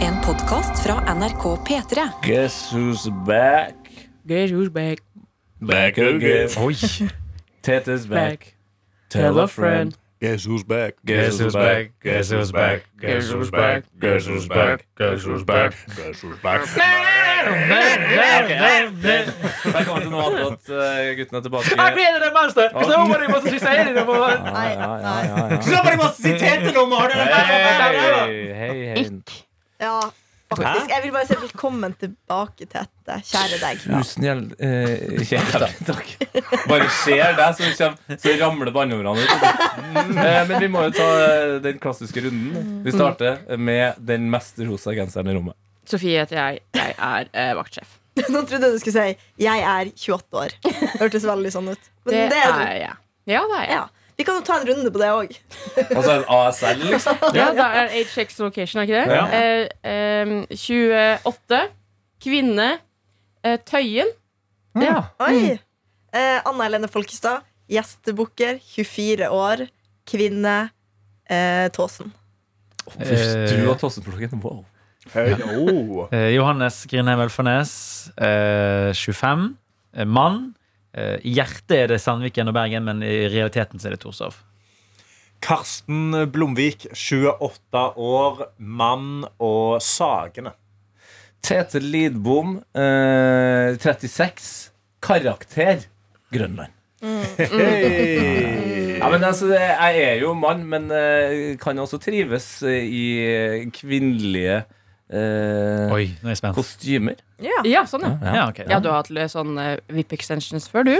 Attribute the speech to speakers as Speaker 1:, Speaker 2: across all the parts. Speaker 1: En podkast fra NRK P3.
Speaker 2: Guess who's back?
Speaker 3: Get your back,
Speaker 2: Back again.
Speaker 4: Oi!
Speaker 2: Tete's back.
Speaker 3: back.
Speaker 2: Tell a friend.
Speaker 5: Guess who's back?
Speaker 4: Guess who's back, guess who's back, guess who's back, guess who's back, guess who's back.
Speaker 5: Guess who's back?
Speaker 2: Der kommer til noe annet eh, guttene tilbake.
Speaker 4: Jeg gleder meg masse! Hvis det var bare masse som sier det, det var-
Speaker 2: Ja, ja, ja, ja, ja.
Speaker 6: Somebody wants to see Tete-nummeret!
Speaker 2: Hei, hei, hei.
Speaker 7: Ja, faktisk. Jeg vil bare si velkommen tilbake, Tette. Kjære deg.
Speaker 2: Tusen hjel- eh, hjertelig takk. Bare ser deg, så, kjem- så ramler banneordene ut. Eh, men vi må jo ta eh, den klassiske runden. Vi starter med den mest rosa genseren i rommet.
Speaker 3: Sofie heter jeg. Jeg er eh, vaktsjef.
Speaker 7: Nå trodde jeg du skulle si 'jeg er 28 år'. Det hørtes veldig sånn ut. Men
Speaker 3: Det
Speaker 7: det, er du.
Speaker 3: er jeg. Ja, det er jeg.
Speaker 7: Ja. Vi kan jo ta en runde på det òg.
Speaker 2: Og så er det ASL, liksom.
Speaker 3: Ja, da er HX location, er ikke det?
Speaker 2: Ja.
Speaker 3: Eh, em, 28. Kvinne. Eh, tøyen. Ja. Mm.
Speaker 7: Oi! Eh, Anna Helene Folkestad, gjestebukker, 24 år, kvinne, eh, Tåsen.
Speaker 4: Eh,
Speaker 2: Du og Tossenplukken, wow.
Speaker 5: Hei, oh.
Speaker 4: Eh, Johannes Grindheim Elfarnes, eh, 25, eh, mann. Eh, I hjertet er det Sandviken og Bergen, men i realiteten så er det Torshov.
Speaker 6: Karsten Blomvik, 28 år, mann og Sagene.
Speaker 2: Tete Lidbom, eh, 36, karakter Grønland. Ja, men altså, det- jeg er jo mann, men eh, kan også trives eh, i kvinnelige eh,
Speaker 4: Oi, nå er jeg spent.
Speaker 2: kostymer.
Speaker 7: Ja.
Speaker 3: Ja, sånn, ja.
Speaker 4: Ja, ok.
Speaker 3: Ja, du har hatt eh, sånn eh, VIP-extensions før, du.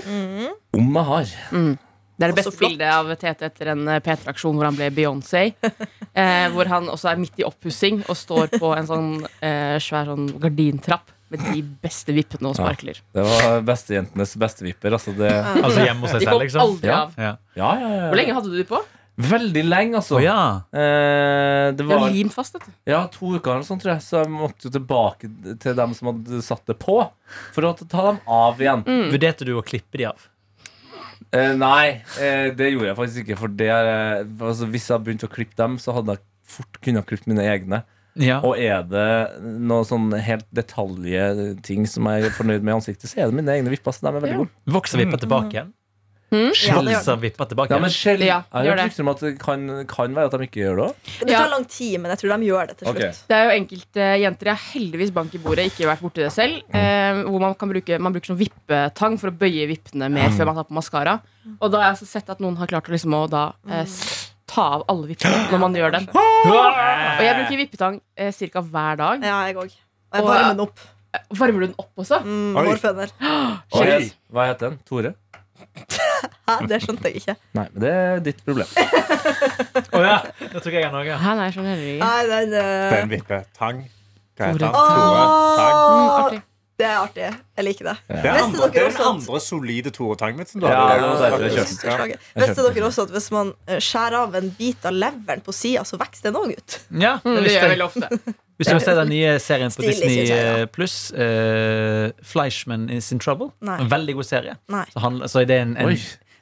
Speaker 2: Om jeg har.
Speaker 3: Mm. Det er det
Speaker 7: Også
Speaker 3: beste
Speaker 7: flott.
Speaker 3: bildet av Tete etter en eh, P3-aksjon hvor han ble Beyoncé. Eh, hvor han også er midt i oppussing og står på en sånn eh, svær sånn gardintrapp med de beste vippene og sparkler.
Speaker 2: Det var bestejentenes bestevipper. Altså det,
Speaker 4: Altså hjemme hos deg
Speaker 3: De
Speaker 4: selv,
Speaker 3: kom
Speaker 4: liksom?
Speaker 3: aldri
Speaker 2: Ja.
Speaker 3: av.
Speaker 4: Ja.
Speaker 2: ja, ja, ja.
Speaker 3: Hvor lenge hadde du de på?
Speaker 2: Veldig lenge, altså.
Speaker 4: Å ja.
Speaker 2: Eh, det
Speaker 3: Det var
Speaker 2: var
Speaker 3: limt fast, vet du.
Speaker 2: ja, to uker eller sånn, tror jeg. Så jeg måtte jo tilbake til dem som hadde satt det på, for å ta dem av igjen.
Speaker 3: Mm.
Speaker 4: Vurderte du å klippe de av?
Speaker 2: Eh, nei, eh, det gjorde jeg faktisk ikke. For det, eh, altså, hvis jeg hadde begynt å klippe dem, så hadde jeg fort kunnet klippe mine egne.
Speaker 4: Ja.
Speaker 2: Og er det noen sånn helt detaljeting som jeg er fornøyd med i ansiktet, så er det mine egne vipper. Så de er veldig
Speaker 3: Ja.
Speaker 2: gode.
Speaker 4: Vokser vippa tilbake igjen?
Speaker 7: Ja, det gjør
Speaker 4: Skjelser vippa tilbake
Speaker 2: Ja, men
Speaker 4: igjen?
Speaker 2: skjell,
Speaker 3: Ja,
Speaker 2: jeg har
Speaker 3: gjør
Speaker 2: hørt rykter om at det kan, kan være at de ikke gjør det òg.
Speaker 7: Det
Speaker 3: Ja.
Speaker 7: tar lang tid, men jeg tror de gjør det til slutt.
Speaker 3: Det er jo enkelte jenter Jeg har heldigvis bank i bordet, ikke vært borti det selv. Eh, hvor man, kan bruke, man bruker sånn vippetang for å bøye vippene mer før man tar på maskara. Og da har jeg altså sett at noen har klart å liksom å da eh, s- ta av alle vippene når man gjør det. Og jeg bruker vippetang eh, ca. hver dag.
Speaker 7: Ja, jeg òg. Og jeg
Speaker 3: Og-
Speaker 7: varmer den opp.
Speaker 3: Varmer du den opp også?
Speaker 7: Mm,
Speaker 5: Oi.
Speaker 7: hårføner.
Speaker 2: Oi, Hva heter den? Tore?
Speaker 7: Hæ, det skjønte jeg ikke.
Speaker 2: Nei, men det er ditt problem.
Speaker 4: Å ja. Da tok jeg den òg, ja.
Speaker 3: Hæ, nei, jeg skjønner sånn ikke.
Speaker 7: Nei, den,
Speaker 6: Ben
Speaker 7: eh,
Speaker 6: Vippe Tang. Hva heter han?
Speaker 3: Tore.
Speaker 6: Tore Tang.
Speaker 3: Mm,
Speaker 7: Åh,
Speaker 3: artig.
Speaker 7: Ah, det er artig. Jeg liker det.
Speaker 6: Det er
Speaker 7: Visste
Speaker 6: andre, det
Speaker 7: dere
Speaker 6: er
Speaker 7: også
Speaker 6: den
Speaker 7: at-
Speaker 6: andre solide Tore Tang-vitsen du
Speaker 2: Ja,
Speaker 6: hadde.
Speaker 2: det var derfor jeg
Speaker 6: Ja.
Speaker 2: kjøpte
Speaker 6: Ja.
Speaker 7: Beklager. Visste dere også at hvis man eh, skjærer av en bit av leveren på sida, så vokser den òg ut?
Speaker 4: ja
Speaker 3: Mm,
Speaker 4: det
Speaker 3: det
Speaker 4: visste
Speaker 3: gjør jeg
Speaker 4: jeg.
Speaker 3: veldig ofte.
Speaker 4: Hvis du har sett den nye serien på
Speaker 7: Stilig,
Speaker 4: Disney
Speaker 7: synes jeg, ja.
Speaker 4: pluss, eh, Fleischman is in trouble.
Speaker 7: Nei.
Speaker 4: En veldig god serie.
Speaker 7: Nei.
Speaker 4: Så, han, så er det en, en
Speaker 2: Oi.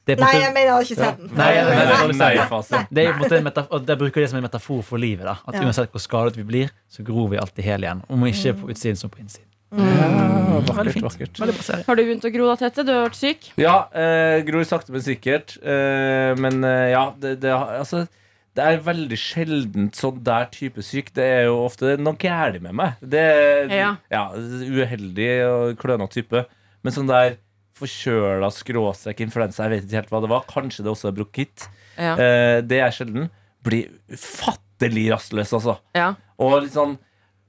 Speaker 4: det er på en
Speaker 7: Nei,
Speaker 4: måte-
Speaker 7: jeg mener jeg har ikke sett den.
Speaker 4: Nei, ja, ja, ja.
Speaker 2: Nei-fase.
Speaker 4: det er på en måte en metaf- og der bruker jeg det som en metafor for livet. da At
Speaker 7: Ja.
Speaker 4: Uansett hvor skadet vi blir, så gror vi alltid hele igjen. Om ikke
Speaker 7: Mm.
Speaker 4: på utsiden, så på innsiden. Veldig
Speaker 2: Vakkert,
Speaker 4: fint.
Speaker 2: vakkert.
Speaker 4: Veldig bra serie.
Speaker 3: Har du begynt å gro da, Tete? Du har vært syk.
Speaker 2: Ja, eh, gror sakte, men sikkert. Eh, men eh, ja, det, det, har- altså, det er veldig sjeldent sånn der type syk. Det er jo ofte noe gærent med meg. Det er ja.
Speaker 3: Ja.
Speaker 2: uheldig og klønete type. Men sånn der forkjøla skråstrek influensa, jeg vet ikke helt hva det var. Kanskje det også er brokitt.
Speaker 3: Ja.
Speaker 2: Eh, det er sjelden. Blir ufattelig rastløs, altså.
Speaker 3: ja.
Speaker 2: Og litt sånn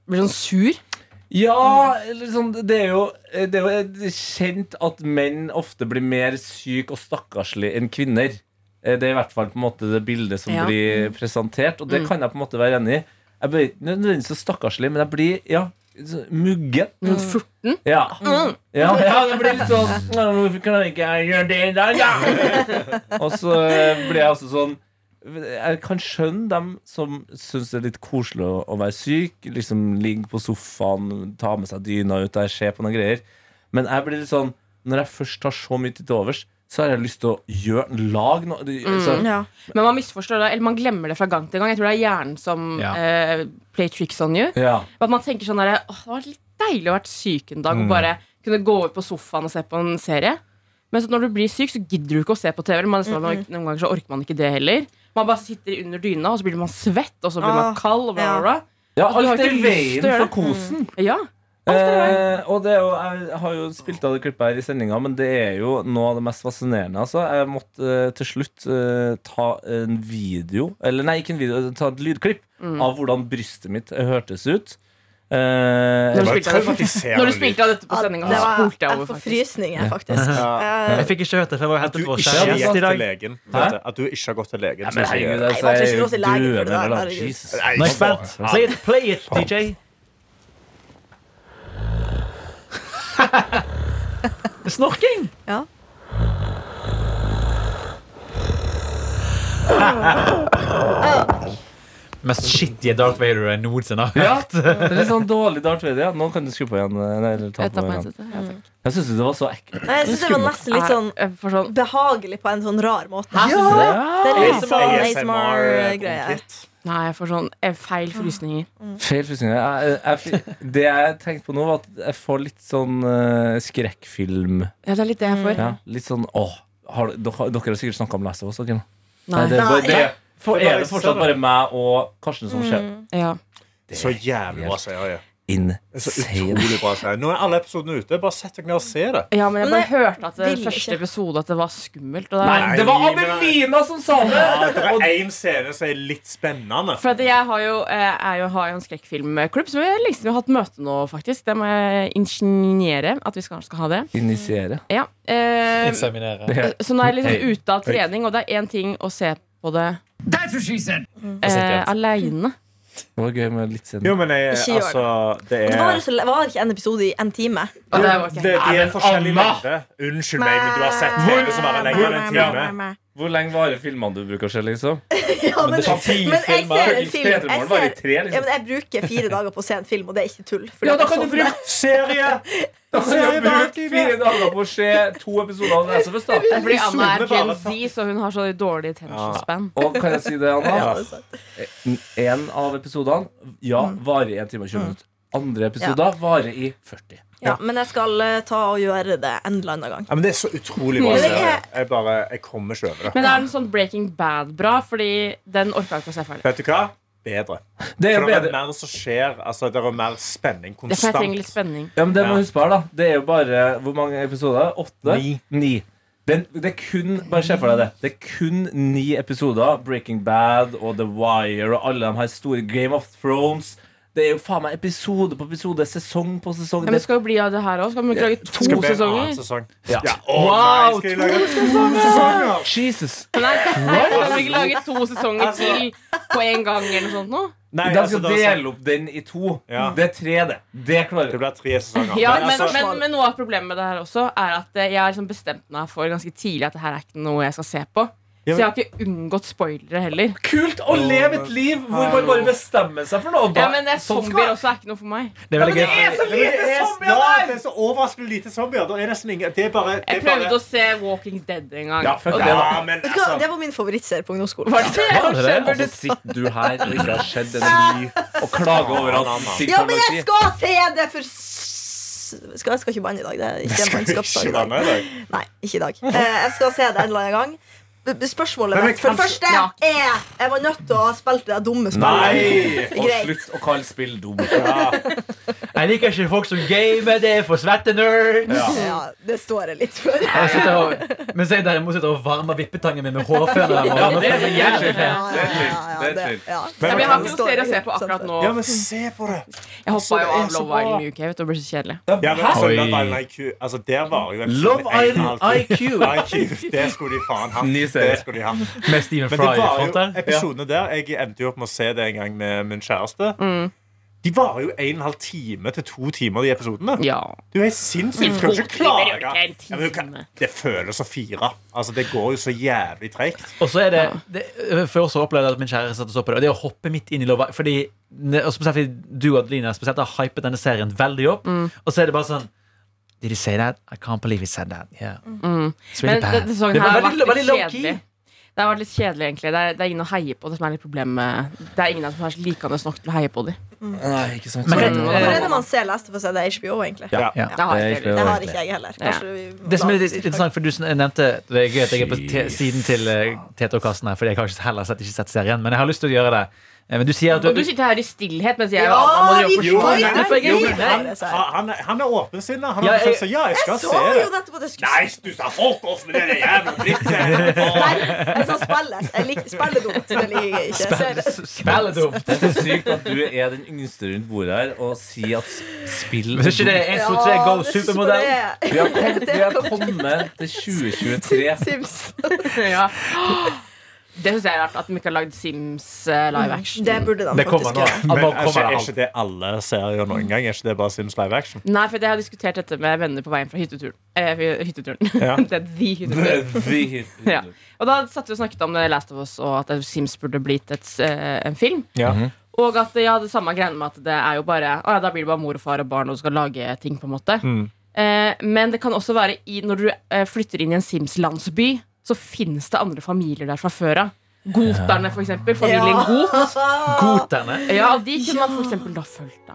Speaker 3: Blir sånn sur.
Speaker 2: ja,
Speaker 3: Mm.
Speaker 2: eller sånn, det er jo Det er jo eh, kjent at menn ofte blir mer syk og stakkarslig enn kvinner. Eh, Det er i hvert fall på en måte det bildet som
Speaker 3: Ja.
Speaker 2: blir presentert, og det
Speaker 3: Mm.
Speaker 2: kan jeg på en måte være enig i. Jeg blir ikke nødvendigvis så stakkarslig, men jeg blir ja, så muggen.
Speaker 3: Litt sånn furt.
Speaker 2: Ja.
Speaker 3: Mm.
Speaker 2: Ja, ja, det blir litt sånn «Nå, Hvorfor kan jeg ikke gjøre det i dag, da? Og så eh, blir jeg også sånn jeg kan skjønne dem som syns det er litt koselig å å være syk. Liksom Ligge på sofaen, ta med seg dyna ut der, se på noen greier. Men jeg blir litt sånn når jeg først har så mye til overs, så har jeg lyst til å gjøre Lag noe. altså, Det- Så,
Speaker 7: Ja.
Speaker 3: Men man misforstår det, eller man glemmer det fra gang til gang. Jeg tror det er hjernen som
Speaker 4: Ja.
Speaker 3: eh, play tricks on you.
Speaker 2: ja.
Speaker 3: At man tenker sånn der, Åh, det var litt deilig å ha vært syk en dag og bare kunne gå ut på sofaen og se på en serie. Men så når du blir syk, så gidder du ikke å se på TV. eller Man nesten, Noen ganger så orker man ikke det heller. Man bare sitter under dyna, og så blir man svett, og så blir man
Speaker 7: Åh,
Speaker 3: kald. Og bla,
Speaker 7: Ah, ja.
Speaker 3: bla,
Speaker 2: ja,
Speaker 3: Og du har
Speaker 2: alt er
Speaker 3: ikke lyst til å
Speaker 2: veien for
Speaker 3: gjøre det. Mm.
Speaker 2: kosen.
Speaker 3: bla. Ja.
Speaker 2: Eh, og det er jo, jeg har jo spilt av det klippet her i sendinga, men det er jo noe av det mest fascinerende. Altså. Jeg måtte eh, til slutt eh, ta en video Eller nei, ikke en video, ta et lydklipp
Speaker 3: Mm.
Speaker 2: av hvordan brystet mitt hørtes ut. Eh,
Speaker 3: Når du
Speaker 6: var
Speaker 3: spilte av det,
Speaker 6: traumatiserende
Speaker 3: når du spilte av dette på
Speaker 7: Ja,
Speaker 3: sendinga,
Speaker 7: Ah, det
Speaker 3: så
Speaker 7: var-
Speaker 3: spolte jeg
Speaker 7: jeg
Speaker 3: over,
Speaker 7: får
Speaker 3: faktisk.
Speaker 7: frysninger, faktisk. Eh,
Speaker 4: Jeg fikk ikke hørt det, for jeg var
Speaker 6: At du
Speaker 4: hentet på
Speaker 6: ikke
Speaker 4: skjerm
Speaker 6: har
Speaker 2: skjermgjest
Speaker 6: gått
Speaker 4: i
Speaker 6: til
Speaker 4: dag.
Speaker 6: legen.
Speaker 2: Hæ?
Speaker 6: At du ikke har gått til legen.
Speaker 2: ja, men herregud, altså,
Speaker 6: det.
Speaker 7: Nei, man skal ikke gå til legen for det
Speaker 2: døende
Speaker 7: der,
Speaker 2: eller noe.
Speaker 7: herregud.
Speaker 2: Jesus.
Speaker 6: Nei,
Speaker 4: Nå er jeg
Speaker 6: faen.
Speaker 4: spent. Play it, play it, DJ. Snorking!
Speaker 7: Ja.
Speaker 4: Mest skittige Darth Vader jeg noensinne har
Speaker 2: Ja, det er litt sånn dårlig Darth Vader. Ja. Nå kan du skru på igjen. eh, Nei, eller ta
Speaker 3: Jeg
Speaker 2: på
Speaker 3: tar meg en
Speaker 2: igjen.
Speaker 3: sette, ja, takk.
Speaker 2: Jeg syns det var så ekkelt.
Speaker 7: Nei, jeg syns det var nesten litt sånn
Speaker 3: Jeg- jeg får sånn
Speaker 7: behagelig på en sånn rar måte.
Speaker 2: Ja.
Speaker 7: Det er eh, litt sånn ASMR-greie.
Speaker 6: ASMR-greie.
Speaker 3: Nei, jeg får sånn eh, feil frysninger.
Speaker 7: Mm.
Speaker 2: Feil frysninger. Jeg, jeg, jeg, det jeg tenkte på nå, var at jeg får litt sånn eh, skrekkfilm.
Speaker 3: Ja, det er litt det jeg får.
Speaker 2: Ja, litt sånn åh, har, dere, dere har sikkert snakka om Last of Us, dere nå?
Speaker 3: Nei.
Speaker 2: det, er bare-
Speaker 7: Nei.
Speaker 2: det, for,
Speaker 6: Det er
Speaker 2: er det fortsatt bare meg og Karsten som skjer?
Speaker 3: Ja.
Speaker 6: Så jævlig bra serie. Så
Speaker 2: Insane.
Speaker 6: utrolig bra serie. Nå er alle episodene ute. Bare sett dere ned og se det.
Speaker 3: ja, men jeg
Speaker 7: Men
Speaker 3: bare
Speaker 7: jeg
Speaker 3: hørte at det
Speaker 7: vil
Speaker 3: første
Speaker 7: ikke.
Speaker 3: episode at det var skummelt. Og det er-
Speaker 2: Nei, det var Amelina som sa det!
Speaker 6: Det er én scene som er litt spennende.
Speaker 3: For at jeg har jo, eh, er jo, har jo en skrekkfilmklubb som vi lenge siden har hatt møte nå, faktisk. Det må jeg ingeniere at vi skal, skal ha det.
Speaker 2: Initiere.
Speaker 3: Ja. Eh,
Speaker 4: Inseminere.
Speaker 3: så nå er jeg liksom ute av trening, og det er én ting å se på det eh, aleine.
Speaker 2: Det var gøy med litt
Speaker 6: Jo,
Speaker 2: siden.
Speaker 6: men jeg,
Speaker 7: Ikke gjør det.
Speaker 6: altså Det
Speaker 7: Det var, jo
Speaker 6: er
Speaker 7: så, det var ikke en episode i en time.
Speaker 3: Og det var ikke-
Speaker 6: det, de er
Speaker 2: men
Speaker 6: forskjellig
Speaker 2: Anna!
Speaker 6: lengde. Unnskyld meg, men du har sett TV som er lenger enn en time.
Speaker 2: Hvor lenge varer filmene du bruker å se, liksom?
Speaker 7: Ja, men,
Speaker 2: tar ti
Speaker 7: men jeg
Speaker 2: filmer.
Speaker 7: ser en
Speaker 2: Fuckings
Speaker 7: film jeg,
Speaker 2: Petermorgen var i
Speaker 7: ser,
Speaker 2: tre,
Speaker 7: ja,
Speaker 2: liksom.
Speaker 7: men jeg bruker fire dager på å se en film, og det er ikke tull. for
Speaker 2: Ja,
Speaker 7: det
Speaker 2: da
Speaker 7: er
Speaker 2: kan du
Speaker 7: sånn det er.
Speaker 2: bruke
Speaker 6: Serie!
Speaker 2: Jeg har brukt fire dager på å se to episoder av Last of Us, da.
Speaker 3: Fordi Anna er
Speaker 6: Episodene
Speaker 3: Gen
Speaker 6: bare
Speaker 3: Z, så hun har så dårlig attention span.
Speaker 2: Og kan jeg si det,
Speaker 7: Ja, altså.
Speaker 2: Anna?
Speaker 7: det er sant.
Speaker 2: En av episodene ja, varer i 1 time og 20 minutter. Andre episoder varer i 40.
Speaker 7: ja, men jeg skal eh, ta og gjøre det en eller annen gang.
Speaker 6: Ja, men Det er så utrolig bra
Speaker 7: Men det er-
Speaker 6: serie. Jeg bare, jeg kommer ikke over det.
Speaker 3: Men det er en sånn Breaking Bad-bra, fordi den orka jeg ikke å se ferdig.
Speaker 6: Vet du hva? Bedre.
Speaker 2: Det er
Speaker 6: For det er
Speaker 2: bedre.
Speaker 6: mer som skjer. Altså, det er mer spenning
Speaker 3: Det er for jeg trenger litt
Speaker 6: konstant.
Speaker 3: spenning.
Speaker 2: Ja, men det må
Speaker 6: Ja.
Speaker 2: huske på her da Det er jo bare, hvor mange episoder? Åtte?
Speaker 6: Ni.
Speaker 2: Den, det er kun, bare se for deg det Det er kun ni episoder Breaking Bad og The Wire Og alle de her store Game of Thrones Det er jo faen meg episode på episode Sesong på sesong
Speaker 3: Ja, men det skal jo bli av det her òg. Skal vi ikke lage to
Speaker 6: Skal det bli en
Speaker 3: sesonger?
Speaker 6: annen sesong?
Speaker 2: Ja.
Speaker 6: Ja. Å,
Speaker 2: Wow,
Speaker 6: nei, skal de lage to sesonger?
Speaker 2: Jesus
Speaker 3: Nei, skal vi ikke lage to sesonger
Speaker 6: Altså-
Speaker 3: til på en gang eller noe sånt nå?
Speaker 6: Nei,
Speaker 2: De skal
Speaker 6: altså, det, er sånn-
Speaker 2: dele opp den i to
Speaker 6: Ja.
Speaker 2: Det er tre det Det klarer
Speaker 6: det
Speaker 2: du
Speaker 6: blir tre sesonger.
Speaker 3: Ja,
Speaker 6: Men
Speaker 3: men,
Speaker 6: altså-
Speaker 3: men, men noe av problemet med det her også er at eh, jeg har liksom bestemt meg for ganske tidlig at det her er ikke noe jeg skal se på. Så
Speaker 6: Ja, men-
Speaker 3: jeg har ikke unngått spoilere heller.
Speaker 2: Kult å leve et liv hvor man bare bestemmer seg for noe og da-
Speaker 3: Ja, men eh,
Speaker 2: sånn skal-
Speaker 3: Zombier også er ikke noe for meg.
Speaker 4: Det er veldig gøy.
Speaker 2: Det er så
Speaker 6: Ja, men det
Speaker 2: lite
Speaker 6: er-
Speaker 2: zombier
Speaker 6: Ja,
Speaker 2: der
Speaker 6: det er så overraskende lite zombier. Det er nesten ingen Det er bare, det
Speaker 3: Jeg
Speaker 6: er bare
Speaker 3: prøvde å se Walking Dead en gang.
Speaker 2: Ja, fuck
Speaker 3: og
Speaker 2: det da.
Speaker 6: Ja, men
Speaker 7: Vet du hva?
Speaker 6: altså
Speaker 7: Det var min favorittserie på ungdomsskolen.
Speaker 3: Var det det?
Speaker 4: Var det det?
Speaker 3: Skjønner
Speaker 2: Altså
Speaker 3: du?
Speaker 2: sitter du her og ikke har skjedd en ny Og klager over at ting
Speaker 7: Ja,
Speaker 2: tar
Speaker 7: men
Speaker 2: lang
Speaker 7: jeg
Speaker 2: tid.
Speaker 7: skal se det for s- skal, Jeg skal ikke banne i dag. Det er ikke en
Speaker 6: Ikke
Speaker 7: bannskapsdag i dag.
Speaker 6: vannet i dag.
Speaker 7: Nei, ikke i dag. Eh, Jeg skal se det en eller annen gang. B- b- Spørsmålet
Speaker 6: Men
Speaker 7: mitt for det
Speaker 3: kanskje-
Speaker 7: første
Speaker 3: Ja.
Speaker 7: er Jeg var nødt til å ha spilt det dumme spillet.
Speaker 6: Nei!
Speaker 2: Og
Speaker 7: Greit.
Speaker 2: slutt å kalle spill dum.
Speaker 6: Ja.
Speaker 4: Jeg liker ikke folk som gamer. Det er for svette nerds.
Speaker 7: Ja, det står jeg litt for.
Speaker 4: Jeg sitter og, mens jeg derimot sitter og varmer vippetangen min med hårføner.
Speaker 2: Ja, det er så jævlig fett.
Speaker 4: jævlig
Speaker 2: Det er chill.
Speaker 7: Ja,
Speaker 2: Det er
Speaker 7: det-
Speaker 2: chill.
Speaker 7: ja.
Speaker 3: Ja, men jeg har ikke noe
Speaker 7: Står
Speaker 3: serie å se
Speaker 7: liksom
Speaker 3: på akkurat
Speaker 7: sånn.
Speaker 3: nå.
Speaker 6: ja, men se på det!
Speaker 3: Jeg hoppa jo
Speaker 6: det er
Speaker 3: av
Speaker 6: så
Speaker 3: Love
Speaker 6: bra.
Speaker 3: Island UK. Vet du, det ble så kjedelig.
Speaker 6: Ja, men altså,
Speaker 4: Oi.
Speaker 6: Love Island IQ altså, Der var jo episoden
Speaker 2: Love
Speaker 6: en
Speaker 2: Island
Speaker 6: og en halv time.
Speaker 2: IQ.
Speaker 6: IQ, Det skulle de faen hatt.
Speaker 2: Ny serie.
Speaker 6: Det skulle de hatt.
Speaker 4: Med Stephen
Speaker 6: Men det
Speaker 4: Fry i
Speaker 6: var
Speaker 4: front
Speaker 6: jo
Speaker 4: der.
Speaker 6: episodene der Jeg endte jo opp med å se det en gang med min kjæreste. De varer jo en og en halv time til to timer, de episodene.
Speaker 3: Ja.
Speaker 6: Du er sinnssyk. Du skal ikke
Speaker 3: timer,
Speaker 6: klage.
Speaker 3: jo ikke en
Speaker 6: Ja, men du kan-
Speaker 3: time.
Speaker 6: Det føles som fire. Altså, det går jo så jævlig treigt.
Speaker 4: Og så er det, det For jeg også opplevde at min kjære satt og så på det. Og det å hoppe midt inn i lova Fordi og spesielt fordi du og Adelina spesielt har hypet denne serien veldig opp. Og så er det bare sånn Did he say that? I can't believe he said that. Yeah.
Speaker 3: Mm.
Speaker 4: It's really
Speaker 3: Men
Speaker 4: bad.
Speaker 3: denne sesongen
Speaker 4: Det var
Speaker 3: her har
Speaker 4: veldig-
Speaker 3: vært
Speaker 4: veldig
Speaker 3: litt
Speaker 4: low-key.
Speaker 3: kjedelig. Det har vært litt kjedelig, egentlig. Det er, det er ingen å heie på. Det som er litt problemet med- Det er ingen som er likende nok til å heie på dem.
Speaker 2: Nei, ikke sant.
Speaker 4: Men
Speaker 7: Hvor
Speaker 4: det-
Speaker 3: Mm.
Speaker 7: er det man ser Last of Us? Er Det er HBO, egentlig.
Speaker 2: Ja.
Speaker 4: Ja.
Speaker 3: Det har
Speaker 2: Det
Speaker 3: jeg
Speaker 2: er
Speaker 3: ikke.
Speaker 2: ikke-
Speaker 7: Det har ikke jeg heller. Kanskje vi
Speaker 4: Det som er litt interessant, for du sn- nevnte Det er gøy at jeg er på te siden til eh, Tete og Karsten her, Fordi jeg har ikke heller sett, ikke sett serien. Men jeg har lyst til å gjøre det. Eh, Men du sier at
Speaker 3: Og
Speaker 4: du,
Speaker 3: du sitter her i stillhet mens jeg
Speaker 7: Ja,
Speaker 3: og Adam må drive og
Speaker 7: vi
Speaker 3: forsvare
Speaker 7: får
Speaker 3: meg.
Speaker 7: det.
Speaker 3: Det får jeg
Speaker 7: Jo,
Speaker 3: ikke
Speaker 7: men
Speaker 3: vite.
Speaker 7: det sa jeg.
Speaker 6: Han, han, er- han er åpensinnet. Han
Speaker 4: Ja,
Speaker 6: har
Speaker 4: jeg-
Speaker 6: sagt så, ja, jeg skal
Speaker 7: Jeg
Speaker 6: se
Speaker 7: så jo
Speaker 6: det.
Speaker 7: nettopp at jeg skulle
Speaker 6: Nei, du sa fuck off med det jævla drittet! Åh.
Speaker 7: Nei, jeg sa spillet. Jeg lik, spillet er dumt. Det liker jeg ikke. Jeg ser det.
Speaker 4: Spillet dumt!
Speaker 2: Det er så sykt at du er den yngste rundt bordet her og sier at s- spill
Speaker 4: Hvis ikke det er 1, 2, 3,
Speaker 7: Ja,
Speaker 4: go,
Speaker 7: det synes jeg bare
Speaker 4: supermodell!
Speaker 7: er-
Speaker 2: Vi har kommet, vi har kommet til 2023.
Speaker 7: Sims.
Speaker 3: Ja. Det syns jeg er rart, at de ikke har lagd Sims eh, live action.
Speaker 7: Det burde de
Speaker 4: Det kommer
Speaker 7: faktisk
Speaker 4: nå.
Speaker 7: gjøre.
Speaker 4: Han
Speaker 6: Men
Speaker 4: bare
Speaker 6: er ikke,
Speaker 4: kommer
Speaker 6: er
Speaker 4: alt.
Speaker 6: ikke det alle serier noen gang? Er ikke det bare Sims live action?
Speaker 3: Nei, for jeg har diskutert dette med venner på veien fra hytteturen. Eh, hytteturen.
Speaker 6: Ja.
Speaker 3: det er de hytteturen.
Speaker 2: Vi-
Speaker 3: Ja. Og da satt vi og snakket om det Last of Us, og at Sims burde blitt et, eh, en film.
Speaker 6: Ja.
Speaker 7: Mhm.
Speaker 3: Og at ja, det samme greiene med at det er jo bare å ja, Da blir det bare mor og far og barn og du skal lage ting, på en måte.
Speaker 6: Mm.
Speaker 3: Eh, men det kan også være i, når du eh, flytter inn i en Sims-landsby, så finnes det andre familier der fra før av. Goterne, for eksempel. Familien
Speaker 7: Ja.
Speaker 3: Got.
Speaker 4: Goterne.
Speaker 3: Ja, og de kunne man for eksempel da fulgt, da.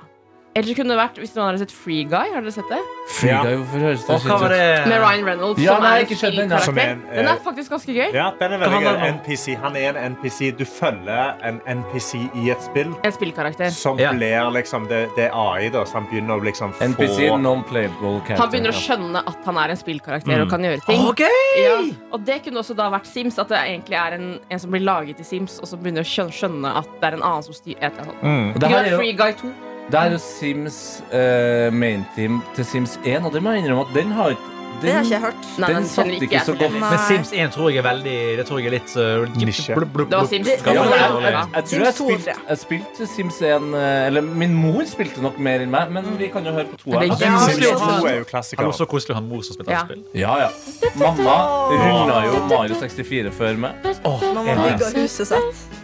Speaker 3: Eller kunne det vært, hvis noen hadde sett Free Guy, har dere sett det?
Speaker 2: Fy, det er jo for høres det
Speaker 4: Og hva
Speaker 2: skitt
Speaker 4: var
Speaker 2: ut.
Speaker 4: det
Speaker 3: Med Ryan Reynolds.
Speaker 2: Ja,
Speaker 3: som
Speaker 2: nei,
Speaker 3: er en
Speaker 2: ikke skjønt den,
Speaker 3: spillkarakter.
Speaker 6: Som er en, eh,
Speaker 3: Den er faktisk ganske gøy.
Speaker 6: Ja, den er veldig
Speaker 4: Hva handler
Speaker 6: gøy.
Speaker 4: den om?
Speaker 6: NPC. Han er en NPC. Du følger en NPC i et spill
Speaker 3: En spillkarakter.
Speaker 6: som
Speaker 4: Ja.
Speaker 6: blir liksom Det, det er AI, da, så han begynner å liksom få
Speaker 2: NPC, non-playable character.
Speaker 3: Han begynner å skjønne at han er en spillkarakter og kan gjøre ting.
Speaker 4: Ok!
Speaker 3: Ja. Og det kunne også da vært Sims. At det egentlig er en, en som blir laget i Sims, og som begynner å skjøn- skjønne at det er en annen som styrer et eller annet.
Speaker 6: Mm.
Speaker 2: Det
Speaker 3: Det
Speaker 2: her er jo,
Speaker 3: Free Guy 2.
Speaker 2: det her er jo Sims eh, main team til Sims 1, og det må jeg innrømme at den har ikke
Speaker 7: Det har
Speaker 2: den-
Speaker 7: ikke jeg hørt.
Speaker 3: Nei,
Speaker 2: Den
Speaker 3: den
Speaker 2: satt
Speaker 3: kjenner ikke
Speaker 2: ikke så
Speaker 3: jeg til.
Speaker 2: godt.
Speaker 7: Nei.
Speaker 4: Men Sims 1 tror jeg er veldig Det tror jeg er litt uh,
Speaker 6: Nisje.
Speaker 4: blub, blub, blub.
Speaker 3: Det var Sims.
Speaker 7: Det-
Speaker 2: Ja, men jeg,
Speaker 4: Gammel.
Speaker 2: jeg, jeg tror jeg
Speaker 7: Sims 2 og
Speaker 2: spilte,
Speaker 7: 3.
Speaker 2: jeg spilte Sims 1 eh, Eller min mor spilte nok mer enn meg, men vi kan jo høre på to her.
Speaker 3: Det er
Speaker 2: da.
Speaker 3: jævlig
Speaker 6: Sims
Speaker 7: Ja.
Speaker 6: 2 er jo
Speaker 4: Han
Speaker 6: klassiker.
Speaker 4: var så koselig å ha en mor som spilte
Speaker 3: Ja.
Speaker 4: spill.
Speaker 2: Ja, ja. Mamma runda jo Mario 64 før meg.
Speaker 4: Åh,
Speaker 7: Man må
Speaker 4: jeg
Speaker 7: bygge huset sitt.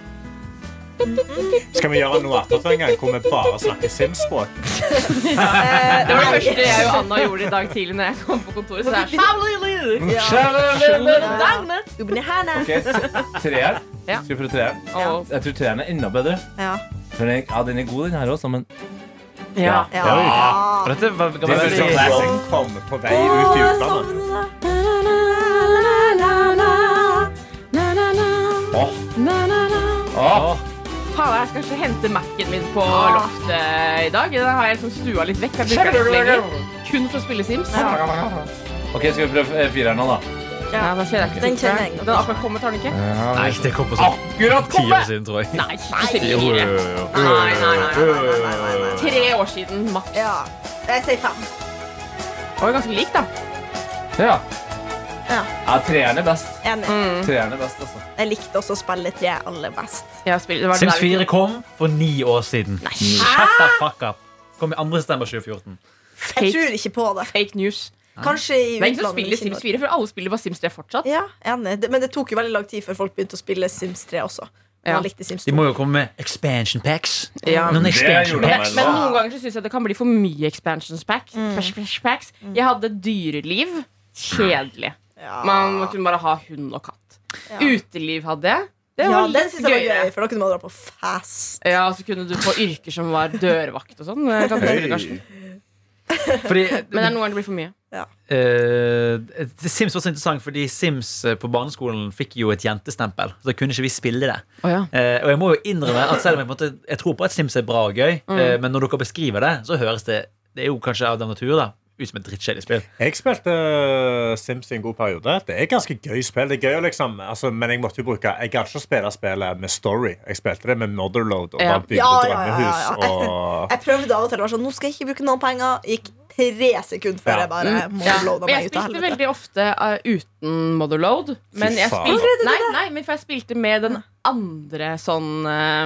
Speaker 6: Skal vi gjøre noe attåt en gang, hvor vi bare snakker Sims-språk?
Speaker 7: Eh,
Speaker 3: Det var det
Speaker 7: nei.
Speaker 3: første jeg og Anna gjorde i dag tidlig når jeg kom på kontoret. Så det er sånn,
Speaker 7: Ja.
Speaker 3: Denne.
Speaker 7: Du blir henne.
Speaker 2: Ok, t- Treeren.
Speaker 3: Ja.
Speaker 2: Skal vi prøve treeren?
Speaker 3: Og-
Speaker 2: Jeg tror treeren er enda bedre.
Speaker 7: Ja.
Speaker 2: For den, ja, den er god, den her også, men
Speaker 3: Ja.
Speaker 7: Ja.
Speaker 4: Og dette var det
Speaker 6: Det
Speaker 4: var
Speaker 6: er
Speaker 4: veldig
Speaker 6: sånn classic kom på vei ut i utlandet.
Speaker 2: Åh, åh.
Speaker 3: Faen, jeg skal ikke hente Mac-en min på
Speaker 7: Ah.
Speaker 3: loftet i dag. Den har jeg liksom stua litt vekk. Jeg bruker den ikke lenger. Kun for å spille Sims. Ja,
Speaker 2: Ok, skal vi prøve eh, fireren nå, da?
Speaker 3: da kjenner jeg ikke
Speaker 7: Den
Speaker 3: til
Speaker 7: kjenner jeg
Speaker 3: den.
Speaker 7: nok.
Speaker 3: Den har akkurat kommet, har den ikke?
Speaker 4: Nei, det kom på sånn
Speaker 2: Akkurat
Speaker 4: ti år siden, tror jeg.
Speaker 3: Nei, ikke fire. Nei, nei, nei. Tre år siden, maks.
Speaker 7: Ja. Jeg sier fem.
Speaker 3: Det var jo ganske lik, da.
Speaker 2: Ja.
Speaker 7: Ja.
Speaker 2: ja, treeren er best.
Speaker 7: Enig.
Speaker 3: Mm.
Speaker 2: Treeren er best, altså.
Speaker 7: Jeg likte også å spille tre aller best.
Speaker 3: Jeg har spilt- det var det
Speaker 4: Sims
Speaker 3: der vi-
Speaker 4: 4 kom for ni år siden. Shut the fuck up. Kom i andre stemmer 2014.
Speaker 7: Jeg
Speaker 3: Fake,
Speaker 7: tror ikke på det.
Speaker 3: fake news.
Speaker 7: Kanskje i
Speaker 3: Det er ingen som
Speaker 7: utlandet, men
Speaker 3: spiller
Speaker 7: ikke i
Speaker 3: Sims
Speaker 7: Norge.
Speaker 3: 4, for alle spiller bare Sims 3 fortsatt.
Speaker 7: Ja, enig. Det- Men det tok jo veldig lang tid før folk begynte å spille Sims 3 også. Man
Speaker 3: Ja.
Speaker 7: likte Sims
Speaker 4: De
Speaker 7: 2.
Speaker 4: må jo komme med expansion packs.
Speaker 3: Ja.
Speaker 4: Noen expansion
Speaker 2: gjorde de
Speaker 4: packs.
Speaker 2: vel.
Speaker 3: Men noen ganger så syns jeg det kan bli for mye expansions pack.
Speaker 7: Mm.
Speaker 3: Splash, splash, packs. Jeg hadde dyreliv. Kjedelig.
Speaker 7: Ja.
Speaker 3: Man kunne bare ha hund og katt.
Speaker 7: Ah. Ja.
Speaker 3: Uteliv hadde jeg. Det
Speaker 7: Ja,
Speaker 3: var
Speaker 7: det
Speaker 3: litt
Speaker 7: synes jeg var
Speaker 3: gøyere.
Speaker 7: gøy, for da kunne man dra på fest.
Speaker 3: Ja, og så kunne du få yrker som var dørvakt og sånn. Det kan du gjøre, kanskje.
Speaker 4: Fordi
Speaker 3: Men det er noen ganger det blir for mye.
Speaker 4: eh, Sims var så interessant fordi Sims eh, på barneskolen fikk jo et jentestempel. Så da kunne ikke vi spille det. Eh, og jeg må jo innrømme at selv om jeg, på en måte, jeg tror på at Sims er bra og gøy, eh, men når dere beskriver det, så høres det Det er jo kanskje av den natur, da. Ut som et drittkjedelig spill.
Speaker 6: Jeg spilte eh, Sims i en god periode. Det er ganske gøy spill. Det er gøy å liksom, altså, men jeg måtte jo bruke Jeg gadd ikke å spille spillet med story. Jeg spilte det med Motherload og
Speaker 3: Ja.
Speaker 6: bare bygde
Speaker 7: Ja, ja, ja, ja, ja.
Speaker 6: drømmehus. Og
Speaker 7: Jeg prøvde av og til å være sånn Nå skal jeg ikke bruke noen penger. Gikk tre sekunder før
Speaker 6: Ja.
Speaker 7: jeg bare må
Speaker 3: Mm. Ja.
Speaker 7: loade
Speaker 3: Men
Speaker 7: meg
Speaker 3: jeg
Speaker 7: ut av
Speaker 3: spilte
Speaker 7: helvete.
Speaker 3: veldig ofte eh, uten motherload. Men
Speaker 6: Fy
Speaker 3: jeg
Speaker 6: faen.
Speaker 3: spilte, nei, nei, men for jeg spilte med den andre sånn eh,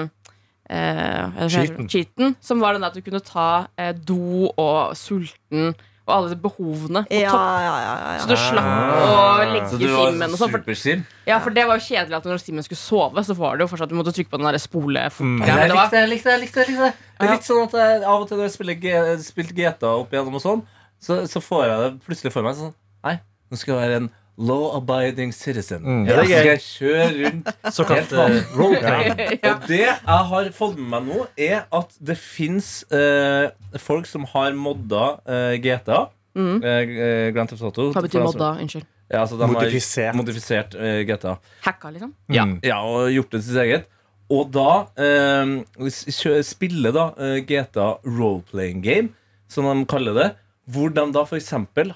Speaker 3: eh, hva heter det?
Speaker 6: Cheaten.
Speaker 3: Cheaten. Som var den at du kunne ta eh, do og sulten og alle de behovene på
Speaker 7: Ja,
Speaker 3: topp.
Speaker 7: ja, ja, ja,
Speaker 3: Så
Speaker 7: ja.
Speaker 3: du slapp å
Speaker 7: Ah.
Speaker 3: legge
Speaker 2: Så du
Speaker 3: simmen
Speaker 2: var
Speaker 3: og sånn. For,
Speaker 2: supersim?
Speaker 3: ja, for det var jo kjedelig at når simmen skulle sove, så var det jo fortsatt du måtte trykke på den der spole fort.
Speaker 6: Mm.
Speaker 3: Ja, men det var-
Speaker 2: jeg likte det. jeg likte det, jeg likte det. Det er litt sånn at jeg, Av og til når jeg spiller G, spilte GTA opp igjennom og sånn så, så får jeg det plutselig for meg sånn Nei, nå skal jeg være en law-abiding citizen.
Speaker 6: Mm.
Speaker 2: Ja,
Speaker 4: Ja,
Speaker 2: så
Speaker 4: det
Speaker 2: skal
Speaker 4: er
Speaker 2: jeg kjøre rundt
Speaker 4: Såkalt
Speaker 2: Helt
Speaker 4: eh, roleplay.
Speaker 3: Ja.
Speaker 2: Og det jeg har fått med meg nå, er at det fins eh, folk som har modda eh, GTA.
Speaker 3: Mm.
Speaker 2: Eh, eh, Grand Theft Auto.
Speaker 3: Hva betyr modda? Unnskyld.
Speaker 2: Ja, altså, de
Speaker 6: Modifisert.
Speaker 2: Har modifisert eh, GTA.
Speaker 3: Hacka, liksom?
Speaker 4: Ja.
Speaker 6: Mm.
Speaker 2: Ja, og gjort det til sitt eget. Og da eh, s- kjø- spiller da eh, GTA Roleplaying Game, som de kaller det. Hvor de da f.eks.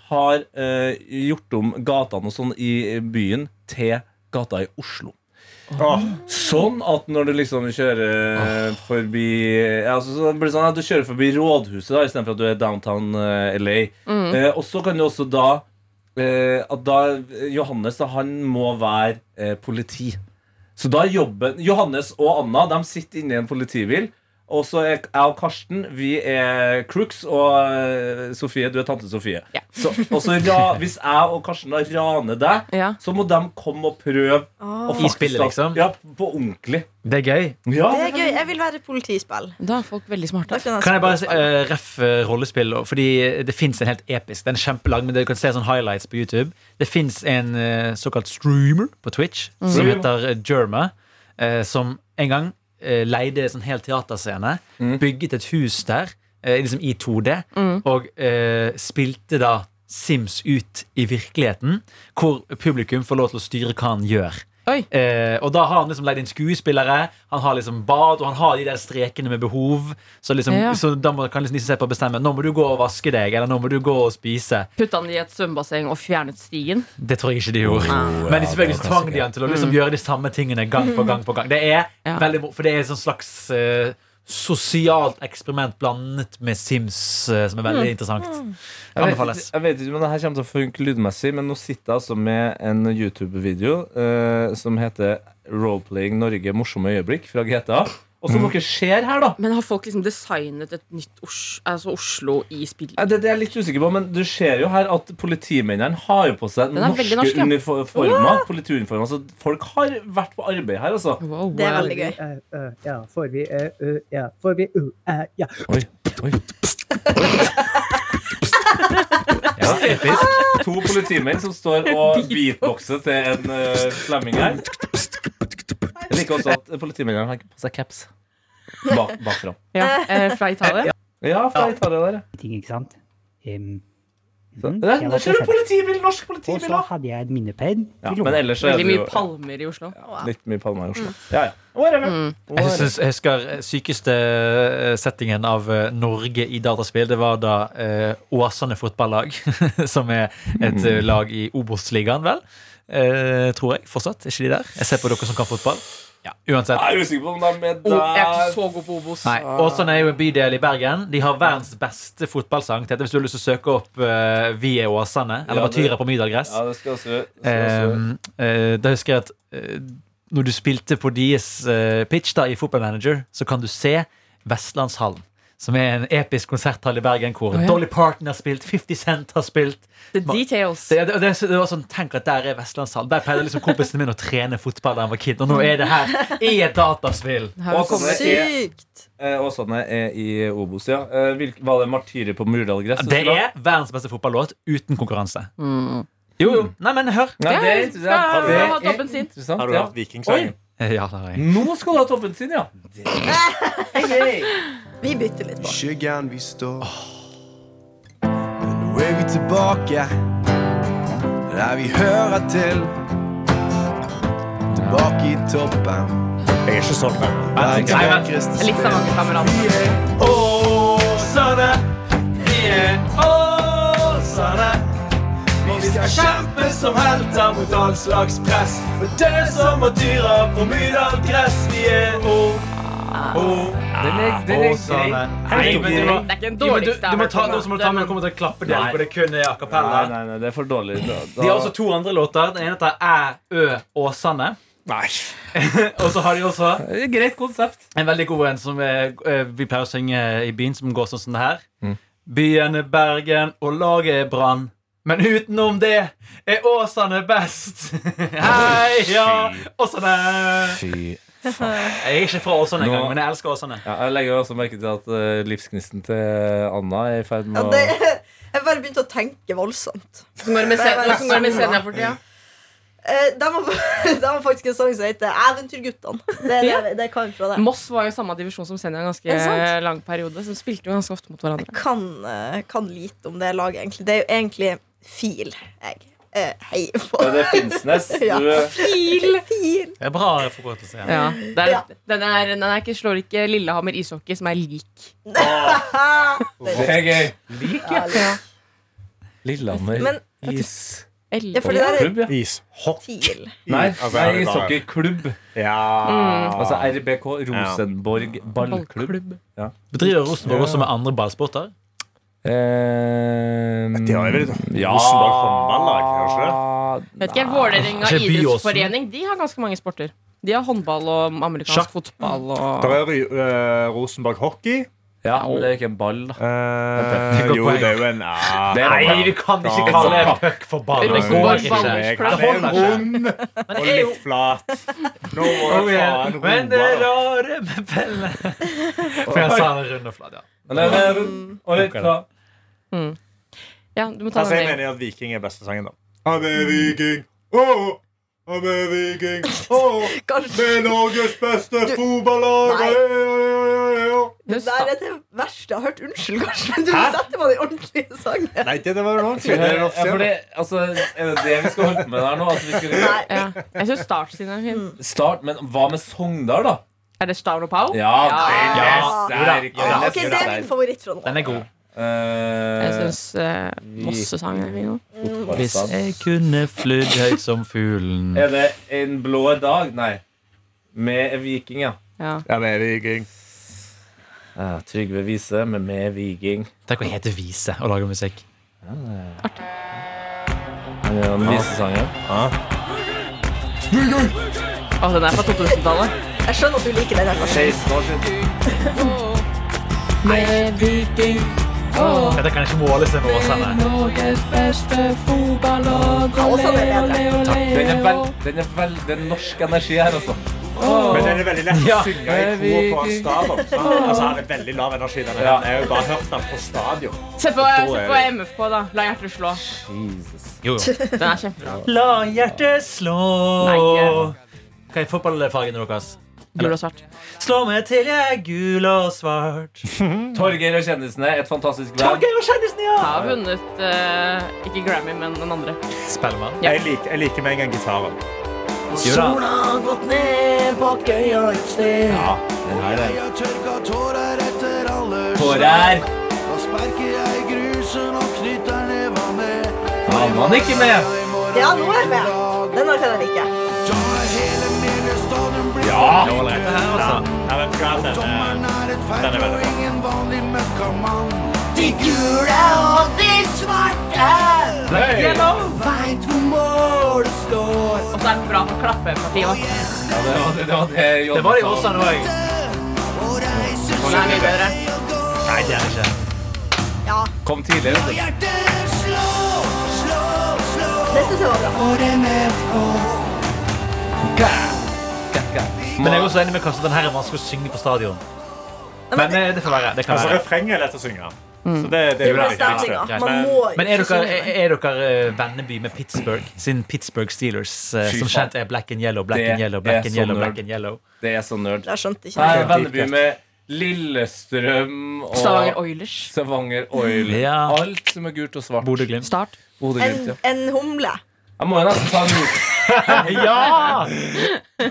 Speaker 2: har eh, gjort om gatene og sånn i byen til gata i Oslo.
Speaker 6: Åh,
Speaker 2: Sånn at når du liksom kjører forbi ja, altså, så blir det sånn at Du kjører forbi rådhuset da istedenfor at du er downtown eh, LA. Eh, og så kan du også da eh, At da Johannes da, han må være eh, politi. Så da jobber Johannes og Anna de sitter inne i en politibil. Og så er jeg og Karsten Vi er crooks, og eh, Sofie, du er tante Sofie.
Speaker 3: Ja.
Speaker 2: Så, og så ra, hvis jeg og Karsten da raner deg,
Speaker 3: Ja.
Speaker 2: så må de komme og prøve
Speaker 7: Åh.
Speaker 3: Ah.
Speaker 2: og
Speaker 4: I spillet,
Speaker 2: da-
Speaker 4: liksom?
Speaker 2: Ja, på ordentlig.
Speaker 4: Det er gøy.
Speaker 2: Ja,
Speaker 7: Det er gøy. Jeg vil være politispill.
Speaker 3: Da er folk veldig
Speaker 7: Da
Speaker 3: smarte.
Speaker 7: kan jeg
Speaker 4: Kan jeg bare si,
Speaker 7: spille spill.
Speaker 4: eh, ref eh, rollespill? og- Fordi det fins en helt episk. Den er kjempelang, men du kan se sånn highlights på YouTube. Det fins en eh, såkalt streamer på Twitch som
Speaker 2: Streamer.
Speaker 4: heter eh, Jerma, eh, som en gang eh, leide en sånn hel teaterscene, bygget et hus der, eh, liksom i 2D, og eh, spilte da Sims ut i virkeligheten, hvor publikum får lov til å styre hva han gjør.
Speaker 3: Oi.
Speaker 4: Eh, og da har han liksom leid inn skuespillere, han har liksom bad, og han har de der strekene med behov. Så, liksom,
Speaker 3: Ja.
Speaker 4: så da må, kan liksom de som ser på, bestemme Nå må du gå og vaske deg, eller nå må du gå og spise.
Speaker 3: Putta han i et svømmebasseng og fjernet stigen.
Speaker 4: Det tror jeg ikke de gjorde. Men selvfølgelig så tvang de han til å liksom gjøre de samme tingene gang på gang. på gang Det er
Speaker 3: Mm. Ja.
Speaker 4: veldig mo- For det er et sånt slags eh, sosialt eksperiment blandet med Sims, eh, som er
Speaker 3: Mm.
Speaker 4: veldig interessant.
Speaker 2: jeg, vet,
Speaker 4: Anbefales.
Speaker 2: ikke- jeg vet ikke om det her kommer til å funke lydmessig, men nå sitter jeg altså med en YouTube-video eh, som heter 'Roleplaying Norge morsomme øyeblikk' fra GTA. Og som dere ser her, da.
Speaker 3: Men har folk liksom designet et nytt Os altså Oslo i spill?
Speaker 2: Eh, Det, det er jeg litt usikker på, men du ser jo her at politimennene har jo på seg
Speaker 3: Den er
Speaker 2: norske
Speaker 3: veldig norsk, ja.
Speaker 2: uniformer. Politiuniformer, så folk har vært på arbeid her, altså.
Speaker 3: Wow,
Speaker 7: Det er
Speaker 3: wow.
Speaker 7: veldig gøy.
Speaker 8: Uh, uh, ja, får vi uh, uh, Ja, får vi uh, uh, ja.
Speaker 2: Oi, oi.
Speaker 4: Ja, episk.
Speaker 2: To politimenn som står og beatboxer til en eh, slemming her. Jeg liker også at politimennene har på seg caps. Bak, bakfra.
Speaker 3: Ja, eh, fra Italia?
Speaker 2: Ja, fra Italia der. ja.
Speaker 8: Ting, ikke sant? Um,
Speaker 2: Så-
Speaker 3: Mm.
Speaker 8: mhm,
Speaker 2: Der
Speaker 8: jeg
Speaker 2: der
Speaker 8: var
Speaker 2: ser du
Speaker 8: på senter.
Speaker 2: politibil! Norsk
Speaker 8: Og
Speaker 2: politibil!
Speaker 8: så
Speaker 2: da.
Speaker 8: hadde jeg en minnepenn. i
Speaker 2: Ja,
Speaker 8: lomma.
Speaker 2: men ellers så er det
Speaker 3: Veldig mye
Speaker 2: jo
Speaker 3: palmer Mm. i Oslo.
Speaker 7: Wow.
Speaker 2: litt mye palmer i Oslo. Ja, ja. Whatever.
Speaker 4: Jeg,
Speaker 2: Whatever.
Speaker 4: synes, jeg husker eh, sykeste eh, settingen av eh, Norge i dataspill. Det var da eh, Åsane fotballag, som er et eh,
Speaker 2: Mm.
Speaker 4: lag i Obos-ligaen, vel? Eh, tror jeg fortsatt. Er ikke de der? Jeg ser på dere som kan fotball. Ja, uansett.
Speaker 2: Jeg er usikker på om de er med
Speaker 3: O- Oh, jeg er ikke
Speaker 2: der.
Speaker 3: så god på Obos.
Speaker 4: Nei, Åsane er jo en bydel i Bergen. De har verdens beste fotballsang. Tete, hvis du har lyst til å søke opp eh, 'Vi er Åsane', eller
Speaker 2: Ja,
Speaker 4: bare
Speaker 2: det-
Speaker 4: 'Tyra på Myrdalgress'.
Speaker 2: Ja, det skal også det skal også-
Speaker 4: Um, eh, da husker jeg at eh, når du spilte på deres eh, pitch da, i Football Manager, så kan du se Vestlandshallen. Som er en episk konserthall i Bergen hvor
Speaker 3: Å, ja.
Speaker 4: Dolly Parton har spilt, 50 Cent har spilt.
Speaker 3: The details.
Speaker 4: Det, det, det, det var sånn, Tenk at der er Vestlandshallen. Der pleide liksom kompisen min å trene fotball da han var kid, og nå er det her i et dataspill.
Speaker 3: Her sånn-
Speaker 2: Og så-
Speaker 3: kommer
Speaker 7: Sykt!
Speaker 2: Eh, Åsane er i Obos, ja. Eh, hvilk- Var det Martyrer på Murdalgress?
Speaker 4: Det er verdens beste fotballåt uten konkurranse.
Speaker 3: Mm.
Speaker 4: Jo, jo. Nei, men hør.
Speaker 2: Nei, det er
Speaker 3: Ja, ja,
Speaker 2: interessant.
Speaker 3: ja,
Speaker 2: Det
Speaker 3: ja,
Speaker 2: er
Speaker 3: dobbelt sin.
Speaker 2: interessant,
Speaker 6: Har du
Speaker 2: ja.
Speaker 6: hatt vikingsangen?
Speaker 4: Eh, Ja, det har jeg.
Speaker 2: Nå skal du ha toppen sin, ja.
Speaker 7: Vi bytter litt på.
Speaker 9: skyggen vi står. Men nå er vi tilbake der vi hører til. Tilbake i toppen.
Speaker 6: Jeg er ikke sånn. men-
Speaker 9: Hver
Speaker 4: Nei, men-
Speaker 9: vakreste
Speaker 3: Jeg likte
Speaker 9: sted.
Speaker 3: mange kamerater.
Speaker 9: Vi er Åsane. Vi er Åsane. Vi skal kjempe som helter mot all slags press. Og dø som at dyra på Myrdal gress. Vi er Å, Å,
Speaker 2: Ah,
Speaker 9: Åsane.
Speaker 4: Nei, men du må,
Speaker 3: Det er ikke en
Speaker 4: Jo, men
Speaker 3: dårlig
Speaker 4: du, du må ta, nå så må du ta med
Speaker 3: men-
Speaker 4: kommer til å klappe deg
Speaker 2: Nei.
Speaker 4: hvor det kun er a
Speaker 2: Nei,
Speaker 4: cappella.
Speaker 2: nei, nei, det er altså for dårlig. Da,
Speaker 4: De har også to andre låter. Den ene heter Æ, Ø, Åsane.
Speaker 6: Nei.
Speaker 4: Og så har de også
Speaker 2: Det er et Greit konsept.
Speaker 4: en veldig god en som eh, eh, vi pleier å synge i byen, som går sånn som det her. Byen er Bergen, og laget er Brann. Men utenom det er Åsane best. Heia Åsane!
Speaker 2: Fy.
Speaker 4: Jeg er ikke fra Åsane engang,
Speaker 2: Nå-
Speaker 4: men jeg elsker Åsane.
Speaker 2: Ja, jeg legger også merke til at eh, livsgnisten til Anna er i ferd med
Speaker 7: Ja,
Speaker 2: å
Speaker 7: det, Jeg bare begynte å tenke voldsomt.
Speaker 3: Hvordan går det med
Speaker 7: Det er
Speaker 3: Sen-
Speaker 7: bare
Speaker 3: hvordan går det med
Speaker 7: sånn, da.
Speaker 3: Senja for tida?
Speaker 7: Eh, De har de har faktisk en sang som heter 'Eventyrguttene'. Det, det, det kan fra det.
Speaker 3: Moss var jo samme divisjon som Senja en
Speaker 7: Er
Speaker 3: ganske
Speaker 7: det sant?
Speaker 3: lang periode. Så de spilte jo ganske ofte mot
Speaker 7: Jeg
Speaker 3: hverandre.
Speaker 7: kan, eh, kan lite om det laget, egentlig. Det er jo egentlig FIL jeg eh, heier på.
Speaker 2: Ja, det er Finnsnes.
Speaker 7: Ja.
Speaker 2: Du,
Speaker 7: FIL! FIL.
Speaker 4: Det er bra forkortelse. Ja.
Speaker 3: Ja, det er,
Speaker 7: Ja.
Speaker 3: Den, er, den er ikke, slår ikke Lillehammer ishockey, som er lik.
Speaker 2: det er gøy.
Speaker 7: Ja, ja.
Speaker 2: Lillehammer
Speaker 7: Men-
Speaker 2: is...
Speaker 3: L-
Speaker 7: Ja, for det der er
Speaker 2: Klubb, ja.
Speaker 6: Ishockey.
Speaker 7: TIL.
Speaker 2: Nei,
Speaker 6: Altså,
Speaker 2: nei
Speaker 6: jeg vil bare-
Speaker 2: ishockeyklubb.
Speaker 6: Ah. Ja.
Speaker 3: Mm.
Speaker 2: Altså RBK Rosenborg ballklubb.
Speaker 3: ballklubb.
Speaker 4: Bedriver Rosenborg også med andre ballsporter?
Speaker 2: Eh,
Speaker 6: De har jo vel et
Speaker 2: ja.
Speaker 6: Rosenborg håndballag, har de ikke det?
Speaker 3: Vet ikke, Vålerenga
Speaker 4: Ikke vi også?
Speaker 3: idrettsforening De har ganske mange sporter. De har håndball og amerikansk
Speaker 4: Sjakk.
Speaker 3: fotball. Og...
Speaker 6: Der er eh, Rosenborg hockey.
Speaker 2: Ja, men det er ikke en ball, da.
Speaker 6: Eh,
Speaker 4: Det går
Speaker 6: jo,
Speaker 4: poeng.
Speaker 6: det er jo en ah,
Speaker 2: Det er
Speaker 6: nei,
Speaker 2: ball.
Speaker 6: vi kan ikke
Speaker 2: kalle
Speaker 6: det
Speaker 4: puck for ball.
Speaker 3: Rosenborg
Speaker 4: Det går ikke.
Speaker 3: ballklubb.
Speaker 6: Ja, det er en rund
Speaker 4: Men
Speaker 6: og
Speaker 4: det er jo-
Speaker 6: litt flat. Nå var det faen
Speaker 4: Men det
Speaker 6: roa, da.
Speaker 4: rare med Pelle For jeg sa det runde og flat, ja.
Speaker 2: Men det er rund og litt klar.
Speaker 3: Ja, du må ta
Speaker 6: Altså, jeg
Speaker 3: den.
Speaker 6: mener at Viking er beste sangen, da. Han er viking, åh! Han er viking, åh!
Speaker 7: Kanskje
Speaker 6: Det er Norges beste
Speaker 7: Du-
Speaker 6: fotballag!
Speaker 7: Nei.
Speaker 3: Du
Speaker 7: det der er det verste jeg har hørt. Unnskyld, kanskje, men du setter på den ordentlige sangen.
Speaker 6: Nei, det, det var jo ordentlig. Det
Speaker 2: Ja,
Speaker 6: er en
Speaker 2: for
Speaker 6: offisiell.
Speaker 2: det, altså, er det det vi skal holde på med her nå? At vi skal
Speaker 7: Nei.
Speaker 3: Ja. Jeg syns Start sin er fin.
Speaker 7: Mm.
Speaker 2: Start, Men hva med Sogndal, da?
Speaker 3: Er det Stavn og Pau?
Speaker 2: Ja,
Speaker 3: Ja.
Speaker 2: det er
Speaker 7: Ah,
Speaker 2: der.
Speaker 7: ok, det er min favoritt fra nå.
Speaker 4: Den er god.
Speaker 3: Jeg
Speaker 2: Eh,
Speaker 3: syns Mosse-sangen er fin òg.
Speaker 4: Hvis jeg kunne flydd høyt som fuglen
Speaker 2: Er det en blå dag? Nei. Med Viking, ja.
Speaker 3: Ja.
Speaker 6: Ja, men er viking.
Speaker 2: ja Trygve Vise med Med Viking.
Speaker 4: Tenk å hete Vise og lage musikk.
Speaker 2: Ja, den visesangen.
Speaker 3: Å, den er fra 2000-tallet.
Speaker 7: Jeg skjønner at du liker den. her, kanskje.
Speaker 2: 16 år siden.
Speaker 4: Dette kan ikke måle seg med Åsane.
Speaker 7: Ja, også den
Speaker 2: Den
Speaker 7: er bedre.
Speaker 2: er vel, den er vel, det er norsk energi her, altså.
Speaker 6: Men den er veldig lett å
Speaker 4: Ja.
Speaker 6: synge i kor på en stadion. sant? Altså, han er veldig lav energi. Denne. her. Jeg har jo bare hørt den på stadion.
Speaker 3: Se på,
Speaker 6: Da er
Speaker 3: se på MFK, da. La hjertet slå.
Speaker 4: Jo, jo.
Speaker 3: Den er kjempebra.
Speaker 4: La hjertet slå
Speaker 3: Nei,
Speaker 4: Hva er fotballfargene deres?
Speaker 3: Gul og svart.
Speaker 4: Slå meg til jeg er gul og svart.
Speaker 2: Torgeir og kjendisene, et fantastisk band.
Speaker 4: Torgeir og kjendisen, ja!
Speaker 3: Har vunnet eh, ikke Grammy, men den andre.
Speaker 4: Spellemann.
Speaker 3: Ja.
Speaker 6: Jeg liker, jeg liker med en gang gitaren.
Speaker 4: Jo da.
Speaker 2: Tårer. Da sparker jeg grusen og knytter neva ned. Var man ikke med?
Speaker 7: Ja, nå er jeg med. Den her kan jeg like.
Speaker 4: Det var ålreit, det her, altså.
Speaker 6: Ja, vet du hva? Den er, den er veldig bra.
Speaker 3: Og så er den bra for klappepartiet. da.
Speaker 2: Ja, det var det, var det Jonny
Speaker 4: Det var i
Speaker 2: sa.
Speaker 4: Åsane òg.
Speaker 3: Den er mye bedre.
Speaker 4: Nei, det er det ikke.
Speaker 2: Kom tidligere. vet du.
Speaker 7: Det synes jeg var bra.
Speaker 4: Men jeg er også enig med Karsten. Den her er vanskelig å synge på stadion. Men eh, det får være. Det kan
Speaker 6: Altså,
Speaker 4: være.
Speaker 6: refrenget er lett å synge. Så Mm. det, det er jo det
Speaker 7: Det er
Speaker 6: viktigste.
Speaker 7: stemninga. Man må
Speaker 4: Men er dere,
Speaker 7: ikke synge
Speaker 4: er-
Speaker 7: den.
Speaker 4: er dere eh, venneby med Pittsburgh, siden Pittsburgh Steelers eh,
Speaker 2: Fy
Speaker 4: som
Speaker 2: faen.
Speaker 4: kjent er black and yellow, black
Speaker 2: Det
Speaker 4: and yellow,
Speaker 2: er
Speaker 4: black and
Speaker 2: så
Speaker 4: yellow,
Speaker 2: nerd.
Speaker 4: black and yellow?
Speaker 2: Det er så nerd.
Speaker 7: Jeg skjønte ikke
Speaker 2: Nei,
Speaker 7: det.
Speaker 2: Venneby med Lillestrøm og
Speaker 3: Stavanger Oilers.
Speaker 2: Stavanger Oil.
Speaker 4: Ja.
Speaker 2: Alt som er gult og svart.
Speaker 4: Bodø-Glimt.
Speaker 3: Start.
Speaker 2: Bodø-Glimt, ja.
Speaker 7: En, en humle.
Speaker 2: Jeg må jo nesten ta en ut.
Speaker 4: Ja!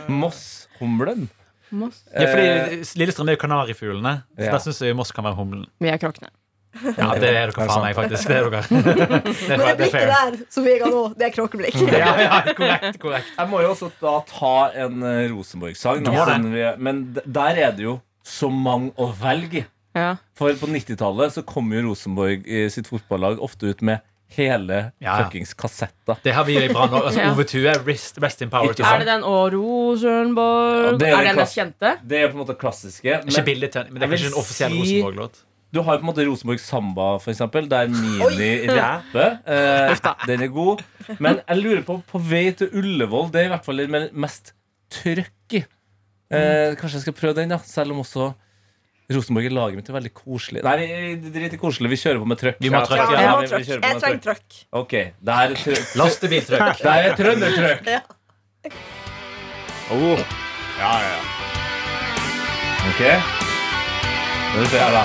Speaker 2: Moss-humlen.
Speaker 3: Moss.
Speaker 4: ja!
Speaker 2: Eh,
Speaker 4: Fordi Lillestrøm er jo kanarifuglene, så
Speaker 2: Ja.
Speaker 4: der syns jeg Moss kan være humlen.
Speaker 3: Vi er kråkene.
Speaker 4: Ja, det er dere faen meg, faktisk. Det er dere. Det
Speaker 7: Men det
Speaker 4: er, det er
Speaker 7: blikket
Speaker 4: fair.
Speaker 7: der som vi ga nå, det er kråkeblikk.
Speaker 4: Ja, ja, korrekt, korrekt.
Speaker 2: Jeg må jo også da ta en eh, Rosenborg-sang. da,
Speaker 4: Du må det.
Speaker 2: siden vi er- Men d- der er det jo så mange å velge i.
Speaker 3: Ja.
Speaker 2: For på 90-tallet så kom jo Rosenborg eh, sitt fotballag ofte ut med hele
Speaker 4: Ja, ja.
Speaker 2: fuckings kassetter.
Speaker 4: Det har vi i Brann òg. Altså,
Speaker 3: Ja.
Speaker 4: Ove Tue, rest, rest in power. til
Speaker 2: Ikke
Speaker 3: Er
Speaker 4: han.
Speaker 3: det den og Rosenborg?
Speaker 2: Ja, det er
Speaker 3: er,
Speaker 2: det
Speaker 3: den mest
Speaker 2: klass-
Speaker 3: kjente?
Speaker 2: Det er på en måte klassiske.
Speaker 4: Ikke
Speaker 2: Men
Speaker 4: bildet til han, men det
Speaker 2: Jeg
Speaker 4: er
Speaker 2: vil
Speaker 4: kanskje en offisiell
Speaker 2: si-
Speaker 4: Rosenborg-låt.
Speaker 2: du har jo på en måte Rosenborg Samba, for eksempel. Der Mini rapper. Eh, den er god. Men jeg lurer på, på vei til Ullevål, det er i hvert fall
Speaker 4: Mm.
Speaker 2: den mest trøkk i. Eh, kanskje jeg skal prøve den, da. Selv om også Rosenborg er laget mitt er veldig koselig. Nei, vi drit i koselig. Vi kjører på med trøkk.
Speaker 4: Vi må ha trøkk,
Speaker 7: Ja,
Speaker 4: ja.
Speaker 7: jeg
Speaker 2: Ja, vi-
Speaker 7: må
Speaker 2: vi
Speaker 7: trøkk.
Speaker 2: kjører på
Speaker 7: Jeg
Speaker 2: med
Speaker 7: trenger
Speaker 2: trøkk.
Speaker 7: trøkk.
Speaker 2: Ok, det er trø-
Speaker 4: Lastebiltrøkk.
Speaker 2: det er trøndertrøkk.
Speaker 6: Oh. Ja, ja, ja.
Speaker 2: Ok. Nå ser jeg da.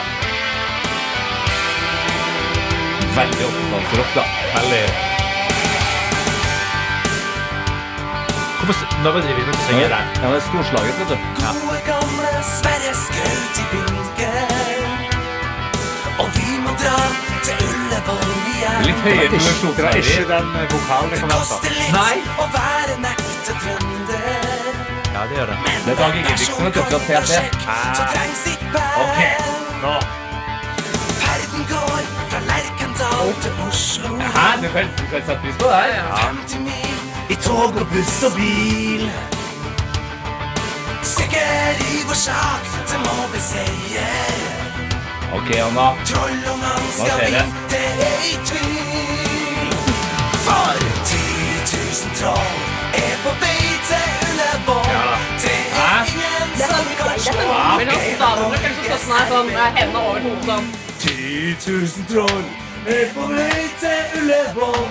Speaker 2: Veldig opptatt da. Veldig.
Speaker 4: Hvorfor s- Nå driver vi med å synge der.
Speaker 2: Ja, det er storslaget, vet du.
Speaker 9: Gode gamle Sverre skaut i vinkel. Og vi må dra til Ullevål igjen.
Speaker 2: Litt høyere
Speaker 6: Det var ikke
Speaker 2: produksjonsverdi.
Speaker 6: den vokalen jeg
Speaker 9: Det
Speaker 6: kom etter.
Speaker 9: koster litt
Speaker 4: Nei.
Speaker 9: å være en ekte trønder.
Speaker 4: Ja, det gjør det.
Speaker 2: Det er Dag Ingebrigtsen, vet du, fra TNT.
Speaker 9: Så trengs ikke bær.
Speaker 2: Ok,
Speaker 6: Nå.
Speaker 9: Ferden går fra Lerkendal til Oslo.
Speaker 2: Hæ? Du kan, du kan sette pris på det her. Ja.
Speaker 9: 50 mil i tog og buss og bil. Sikker i vår sak, det må bli seier.
Speaker 2: Ok, Anna.
Speaker 9: Troll og mann
Speaker 2: Hva
Speaker 9: skal
Speaker 2: skjer det?
Speaker 9: vite i tvil. For 10 000 troll er på vei til Ullevål. Det
Speaker 2: Hæ?
Speaker 9: er ingen som kan slå
Speaker 3: Men han staver nok kanskje sånn her, sånn med hendene over hodet sånn.
Speaker 9: 10 000 troll er på vei til Ullevål.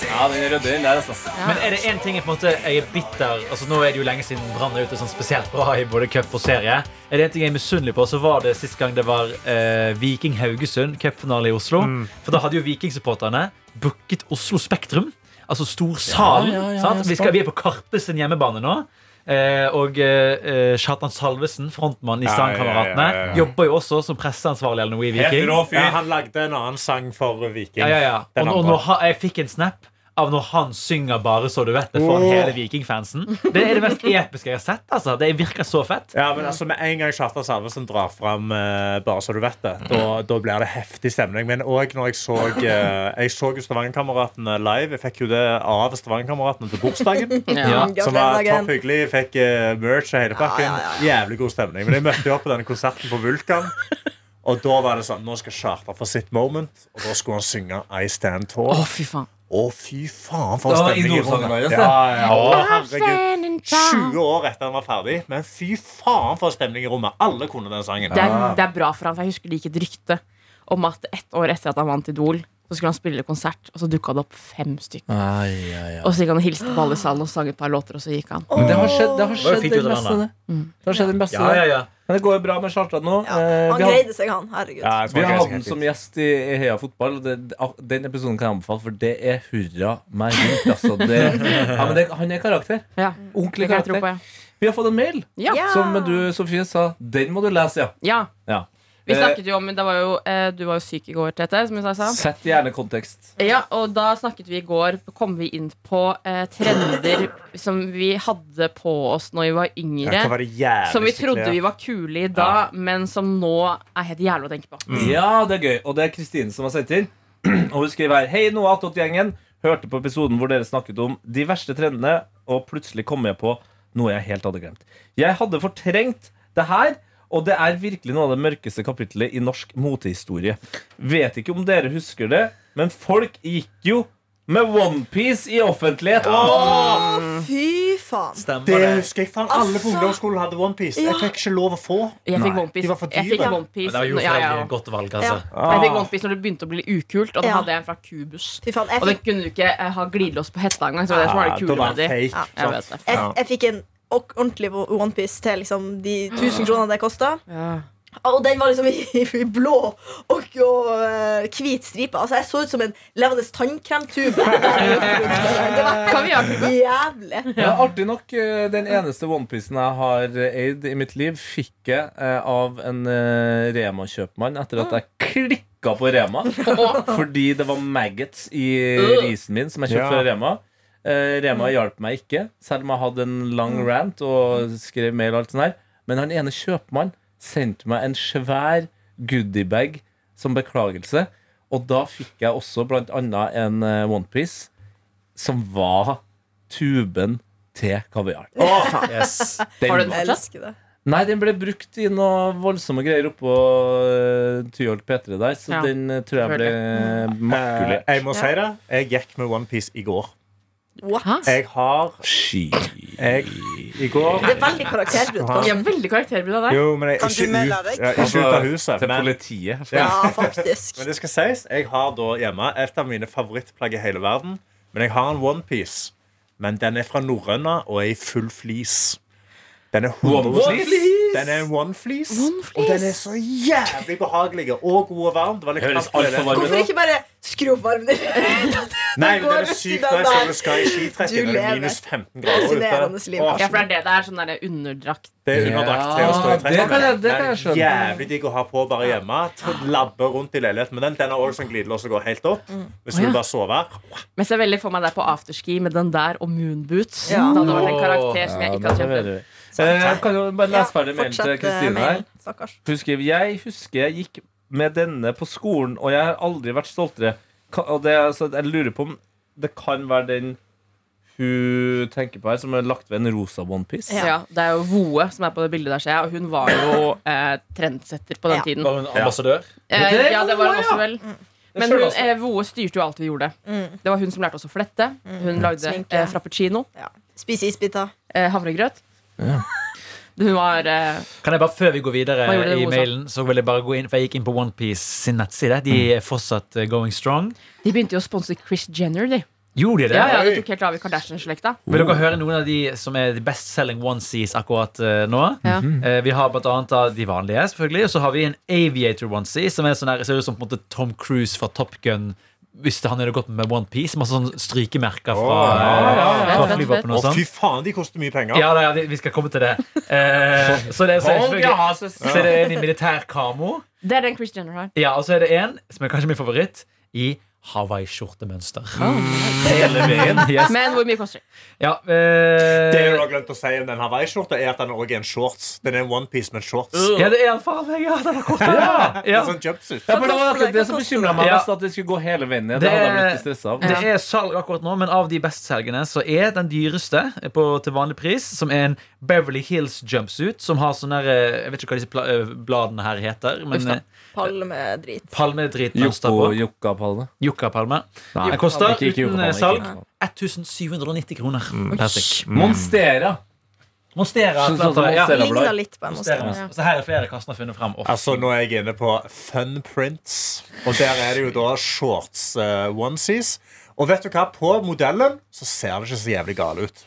Speaker 9: Det
Speaker 2: Ja, den er rødder den der, altså.
Speaker 4: Men er det én ting jeg på en måte jeg er bitter Altså Nå er det jo lenge siden Brann er ute sånn spesielt bra i både cup og serie. Er det en ting jeg er misunnelig på, så var det sist gang det var eh, Viking Haugesund, cupfinale i Oslo.
Speaker 6: Mm.
Speaker 4: For da hadde jo Vikingsupporterne booket Oslo Spektrum. Altså Storsalen.
Speaker 2: Ja, ja, ja,
Speaker 4: sant?
Speaker 2: ja,
Speaker 4: Vi, skal, vi er på Karpe sin hjemmebane nå. Eh, og eh, Kjartan Salvesen, frontmann i
Speaker 6: Ja, ja, ja, ja, ja.
Speaker 4: Sangkameratene, jobber jo også som presseansvarlig eller noe i
Speaker 2: Helt
Speaker 4: Viking.
Speaker 2: rå fyr.
Speaker 6: Ja, han lagde en annen sang for Viking.
Speaker 4: Ja, ja, ja.
Speaker 6: Den
Speaker 4: Og, og
Speaker 6: andre.
Speaker 4: når han, jeg fikk en snap av når han synger bare så du vet det foran
Speaker 6: Åh.
Speaker 4: hele Vikingfansen. Det er det mest episke jeg har sett. altså. Det virker så fett.
Speaker 6: Ja, men altså Med en gang Kjartan Salvesen drar fram eh, Bare så du vet det, da, da blir det heftig stemning. Men òg når jeg så eh, Jeg så jo Stavangerkameratene live. Jeg fikk jo det av Stavangerkameratene til bursdagen.
Speaker 4: Ja.
Speaker 6: Som var topp hyggelig. Jeg Fikk eh, merch og hele pakken. Jævlig god stemning. Men jeg møtte jo opp på denne konserten på Vulkan. Og da var det sånn Nå skal Kjartan få sitt moment. Og da skulle han synge I Stand Tall.
Speaker 3: Å,
Speaker 6: Å,
Speaker 3: fy faen.
Speaker 6: fy faen, for
Speaker 2: Det
Speaker 6: en
Speaker 2: var
Speaker 6: stemning i
Speaker 2: idolsangen
Speaker 6: rommet.
Speaker 2: deres, det.
Speaker 6: Ja, ja, å, herregud.
Speaker 3: Standing tall.
Speaker 6: 20 år etter han var ferdig, men fy faen for en stemning i rommet. Alle kunne den sangen.
Speaker 3: det er, det er bra for han, for jeg husker det gikk et rykte om at ett år etter at han vant Idol, så skulle han spille konsert, og så dukka det opp fem stykker. Og så gikk han og hilste på alle i salen og sang et par låter, og så gikk han.
Speaker 2: Men det har skjedd, det har
Speaker 4: var jo
Speaker 2: skjedd
Speaker 4: fint
Speaker 2: den
Speaker 4: ut av
Speaker 2: beste,
Speaker 4: den,
Speaker 2: det. Mm. Det har skjedd den beste,
Speaker 4: Ja, ja, ja.
Speaker 2: det. Men det går jo bra med Kjartan nå.
Speaker 7: Ja,
Speaker 2: Eh,
Speaker 7: han
Speaker 2: vi har-
Speaker 7: greide seg, han. Herregud.
Speaker 6: Ja, jeg tror
Speaker 2: Vi har
Speaker 6: ikke
Speaker 2: hatt
Speaker 6: jeg
Speaker 2: den
Speaker 6: skal
Speaker 2: som
Speaker 6: helt
Speaker 2: gjest i i Heia fotball. og det- ak- Den episoden kan jeg anbefale, for det er hurra meg rundt. Altså, det, ja, men det, han er karakter.
Speaker 3: Ja,
Speaker 2: Ordentlig
Speaker 3: det kan jeg tro på,
Speaker 2: karakter. Vi har fått en mail
Speaker 3: ja. ja.
Speaker 7: Ja.
Speaker 2: som du, Sofie, sa den må du lese, ja. Eh,
Speaker 3: ja.
Speaker 2: ja.
Speaker 3: Vi
Speaker 4: Eh,
Speaker 3: snakket jo om det var jo, eh, Du var jo syk i går, Tete. Som jeg sa.
Speaker 2: Sett gjerne kontekst.
Speaker 3: Ja, og da snakket vi i går Kom vi inn på eh, trender som vi hadde på oss når vi var
Speaker 6: Ja, hva
Speaker 3: yngre.
Speaker 6: var det jævligste
Speaker 3: Som vi trodde
Speaker 6: klær?
Speaker 3: vi var kule i da, men som nå er helt jævlig å tenke på.
Speaker 6: Mm.
Speaker 2: Ja, det er gøy. Og det er Kristine som har sendt inn. Og hun skriver her Hei, Noah Attot-gjengen. Hørte på episoden hvor dere snakket om de verste trendene, og plutselig kom jeg på noe jeg helt hadde glemt. Jeg hadde fortrengt det her, og det er virkelig noe av det mørkeste kapitlet i norsk motehistorie. Vet ikke om dere husker det, men folk gikk jo med OnePiece i offentlighet.
Speaker 7: Å, fy faen.
Speaker 4: Stemmer
Speaker 6: Det
Speaker 4: det.
Speaker 6: husker jeg faen. Alle på
Speaker 7: Altså.
Speaker 6: ungdomsskolen hadde OnePiece.
Speaker 7: Ja.
Speaker 6: Jeg fikk ikke lov å få.
Speaker 3: Jeg fikk
Speaker 2: Nei,
Speaker 6: de var
Speaker 3: OnePiece.
Speaker 6: for
Speaker 3: Jeg fikk
Speaker 6: dyre. Ah.
Speaker 4: Men
Speaker 3: OnePiece
Speaker 4: det var jo
Speaker 3: ja, ja,
Speaker 4: foreldrene et godt valg, altså.
Speaker 3: Jeg fikk OnePiece når det begynte å bli ukult, og da
Speaker 7: Ja.
Speaker 3: hadde jeg en fra Cubus.
Speaker 7: Fy faen. Jeg
Speaker 3: Og den
Speaker 7: fikk,
Speaker 3: kunne du ikke eh, ha glidelås på hetta engang. Så det var det som var det
Speaker 6: Ja, Ah, da
Speaker 3: kule
Speaker 6: var
Speaker 3: med
Speaker 6: det
Speaker 3: de.
Speaker 6: fake.
Speaker 7: Ja,
Speaker 3: Jeg
Speaker 6: sant?
Speaker 3: vet det.
Speaker 7: jeg, jeg fikk en ok- ordentlig onepiece til liksom, de 1000 kronene det kosta.
Speaker 3: Ja.
Speaker 7: Og den var liksom i, i blå og, og eh, hvit stripe. Altså, jeg så ut som en levende tannkremtube. det var
Speaker 3: Kan vi gjøre det?
Speaker 7: jævlig.
Speaker 2: Ja, artig nok, eh, den eneste onepiecen jeg har eh, eid i mitt liv, fikk jeg eh, av en eh, Rema-kjøpmann etter at jeg klikka på Rema. Fordi det var maggots i risen min som jeg kjøpte
Speaker 6: Ja.
Speaker 2: fra Rema. Eh, Rema hjalp meg ikke, selv om jeg hadde en lang rant og skrev mail. og alt sånt her Men han ene kjøpmannen sendte meg en svær goodiebag som beklagelse. Og da fikk jeg også blant annet en eh, onepiece som var tuben til kaviar.
Speaker 4: Yes.
Speaker 2: Den,
Speaker 3: Har du den fortsatt?
Speaker 7: Jeg elsker det.
Speaker 2: nei, den ble brukt i noe voldsomme greier oppå uh, Tyholt P3 der, så
Speaker 3: Ja,
Speaker 2: den eh, tror jeg ble
Speaker 6: Eh,
Speaker 2: makulert.
Speaker 6: Jeg må si det. Jeg gikk med OnePiece i går.
Speaker 7: What?
Speaker 3: Hæ?
Speaker 6: Jeg har
Speaker 2: Shit.
Speaker 6: jeg, i går.
Speaker 7: Det er veldig karakterbrudd.
Speaker 3: De
Speaker 7: kanskje.
Speaker 3: er veldig karakterbilde av deg.
Speaker 6: Jo, men jeg,
Speaker 9: Kan
Speaker 6: ikke,
Speaker 9: du melde
Speaker 6: ut,
Speaker 9: deg?
Speaker 6: ja, ikke ut av huset.
Speaker 2: Til
Speaker 6: Men,
Speaker 2: politiet.
Speaker 6: ja.
Speaker 7: Ja, faktisk.
Speaker 6: men det skal sies, jeg har da hjemme et av mine favorittplagg i hele verden. Men jeg har en onepiece. Men den er fra norrøna og er i full flis. Den er 100 Den er en one fleece. Og den er så jævlig behagelig og god og varm. Det var litt
Speaker 2: Høres alt
Speaker 6: kaldt
Speaker 2: for
Speaker 6: med det.
Speaker 2: varm
Speaker 7: Hvorfor ikke bare skru opp varmen din?
Speaker 6: Nei, men den
Speaker 7: Går
Speaker 6: er sykt
Speaker 7: ut i den
Speaker 6: nice
Speaker 7: der.
Speaker 6: når du skal i skitrekken.
Speaker 7: Du
Speaker 6: når Det er
Speaker 7: lever.
Speaker 6: minus 15 grader
Speaker 7: Fascinerende liv.
Speaker 6: ute. Åh,
Speaker 3: Ja, for det er det. Det er sånn der underdrakt.
Speaker 6: Det er underdrakt til å stå i
Speaker 2: Ja, det kan jeg-
Speaker 6: trekken.
Speaker 2: det kan jeg skjønne.
Speaker 6: Den er Jævlig digg å ha på bare hjemme. T- Labbe rundt i leiligheten med den. Den har også en glidelås som går helt opp.
Speaker 7: Mm.
Speaker 6: Hvis
Speaker 3: Å,
Speaker 6: du
Speaker 3: ja.
Speaker 6: vil bare sove.
Speaker 3: Men jeg ser veldig for meg deg på afterski med den der og moonboots.
Speaker 7: Ja.
Speaker 3: Da hadde det vært en karakter som jeg ikke hadde kjent.
Speaker 2: Eh, Jeg kan jo bare lese ferdig mailen til
Speaker 7: fortsett, eh,
Speaker 2: Kristine her.
Speaker 7: mailen. Stakkars.
Speaker 2: Hun skriver Jeg husker jeg gikk med denne på skolen, og jeg har aldri vært stoltere. Ka- Og det, er- så jeg lurer på om det kan være den hun tenker på her, som er lagt ved en rosa onepiece.
Speaker 3: Ja. det er jo Voe som er på det bildet der, ser jeg. Og hun var jo eh, trendsetter på den
Speaker 7: Ja.
Speaker 3: tiden.
Speaker 4: Var hun ambassadør?
Speaker 3: Eh,
Speaker 2: Det er
Speaker 3: ja, det var hun
Speaker 2: Voe,
Speaker 3: også,
Speaker 2: ja.
Speaker 3: vel.
Speaker 7: Mm.
Speaker 2: er
Speaker 3: Men
Speaker 2: selv
Speaker 3: hun,
Speaker 2: også.
Speaker 3: eh, Voe styrte jo alt vi gjorde. Det var hun som lærte oss å flette. Hun lagde
Speaker 7: Mm. Sminke.
Speaker 3: eh, frappuccino.
Speaker 7: Spise isbiter.
Speaker 3: Eh, havregrøt. Hun var eh,
Speaker 4: Kan jeg bare, Før vi går videre
Speaker 3: Hva gjorde du,
Speaker 4: i
Speaker 3: Osa?
Speaker 4: mailen, så vil jeg bare gå inn For jeg gikk inn på OnePiece sin nettside. De
Speaker 6: Mm.
Speaker 4: er fortsatt eh, going strong.
Speaker 3: De begynte jo å sponse Chris Jenner, de.
Speaker 4: Gjorde de det?
Speaker 3: Ja, ja, de tok helt av i Kardashian-slekta.
Speaker 4: Vil dere høre noen av de som er de bestselgende onesies akkurat eh, nå?
Speaker 3: Ja.
Speaker 6: Mm.
Speaker 4: Eh, vi har blant annet da de vanlige, selvfølgelig. Og så har vi en aviator onesie, som er sånn der, ser ut som på en måte Tom Cruise fra Top Gun. Hvis han hadde gått med OnePiece. Masse sånn strykemerker fra,
Speaker 6: Åh, ja, ja,
Speaker 4: eh,
Speaker 3: ja.
Speaker 4: fra flyvåpenet og
Speaker 6: Å,
Speaker 4: sånn.
Speaker 6: fy faen, de koster mye penger.
Speaker 4: Ja, da, ja, vi, vi skal komme til det. Eh, så det er så er
Speaker 2: Hold,
Speaker 4: selvfølgelig-
Speaker 2: ja, så-
Speaker 4: så er det en i militær kamo.
Speaker 3: Det er den Chris Jenner har.
Speaker 4: Ja, og så er det en som er kanskje min favoritt, i Hawaii-skjortemønster. Hele veien. Yes.
Speaker 3: Men hvor mye koster de?
Speaker 4: Ja, eh,
Speaker 6: Det jeg har glemt å si om den Hawaii-skjorta, er at den også er en shorts. Den er en onepiece med en shorts.
Speaker 4: ja, det er han faen meg! Ja, den er kort. Ja,
Speaker 6: Det
Speaker 4: Uh, ja.
Speaker 6: er sånn jumpsuit.
Speaker 2: Ja, for det var akkurat det som bekymra meg
Speaker 4: Ja.
Speaker 2: mest, at det skulle gå hele veien ned. Det
Speaker 4: Det-
Speaker 2: hadde jeg blitt litt stresset av.
Speaker 4: Det er salg akkurat nå, men av de bestselgende så er den dyreste på, til vanlig pris, som er en Beverly Hills jumpsuit, som har sånne der, eh, Jeg vet ikke hva disse pla eh, bladene her heter,
Speaker 3: Uff
Speaker 4: men
Speaker 3: da.
Speaker 4: eh,
Speaker 7: Palmedrit.
Speaker 4: palmedritmønster på.
Speaker 2: Jokko- Jokkapalene.
Speaker 4: Yuccapalme.
Speaker 2: Nei,
Speaker 4: Den koster
Speaker 2: ikke- ikke
Speaker 4: uten eh,
Speaker 2: Jokkapalene,
Speaker 4: salg
Speaker 2: ikke Jokkapalene.
Speaker 4: 1790 kroner. Per stykk.
Speaker 2: Monstera.
Speaker 4: Monstera.
Speaker 2: Sånn som
Speaker 4: planter, ja.
Speaker 2: Monstera.
Speaker 7: Ligna litt på en
Speaker 4: Monstera.
Speaker 7: monster.
Speaker 4: Så her er flere kassen har funnet fram. Å,
Speaker 6: Altså, Nå er jeg inne på Fun Prints, og der er det jo da shorts eh, onesies. Og vet du hva? På modellen så ser det ikke så jævlig gal ut.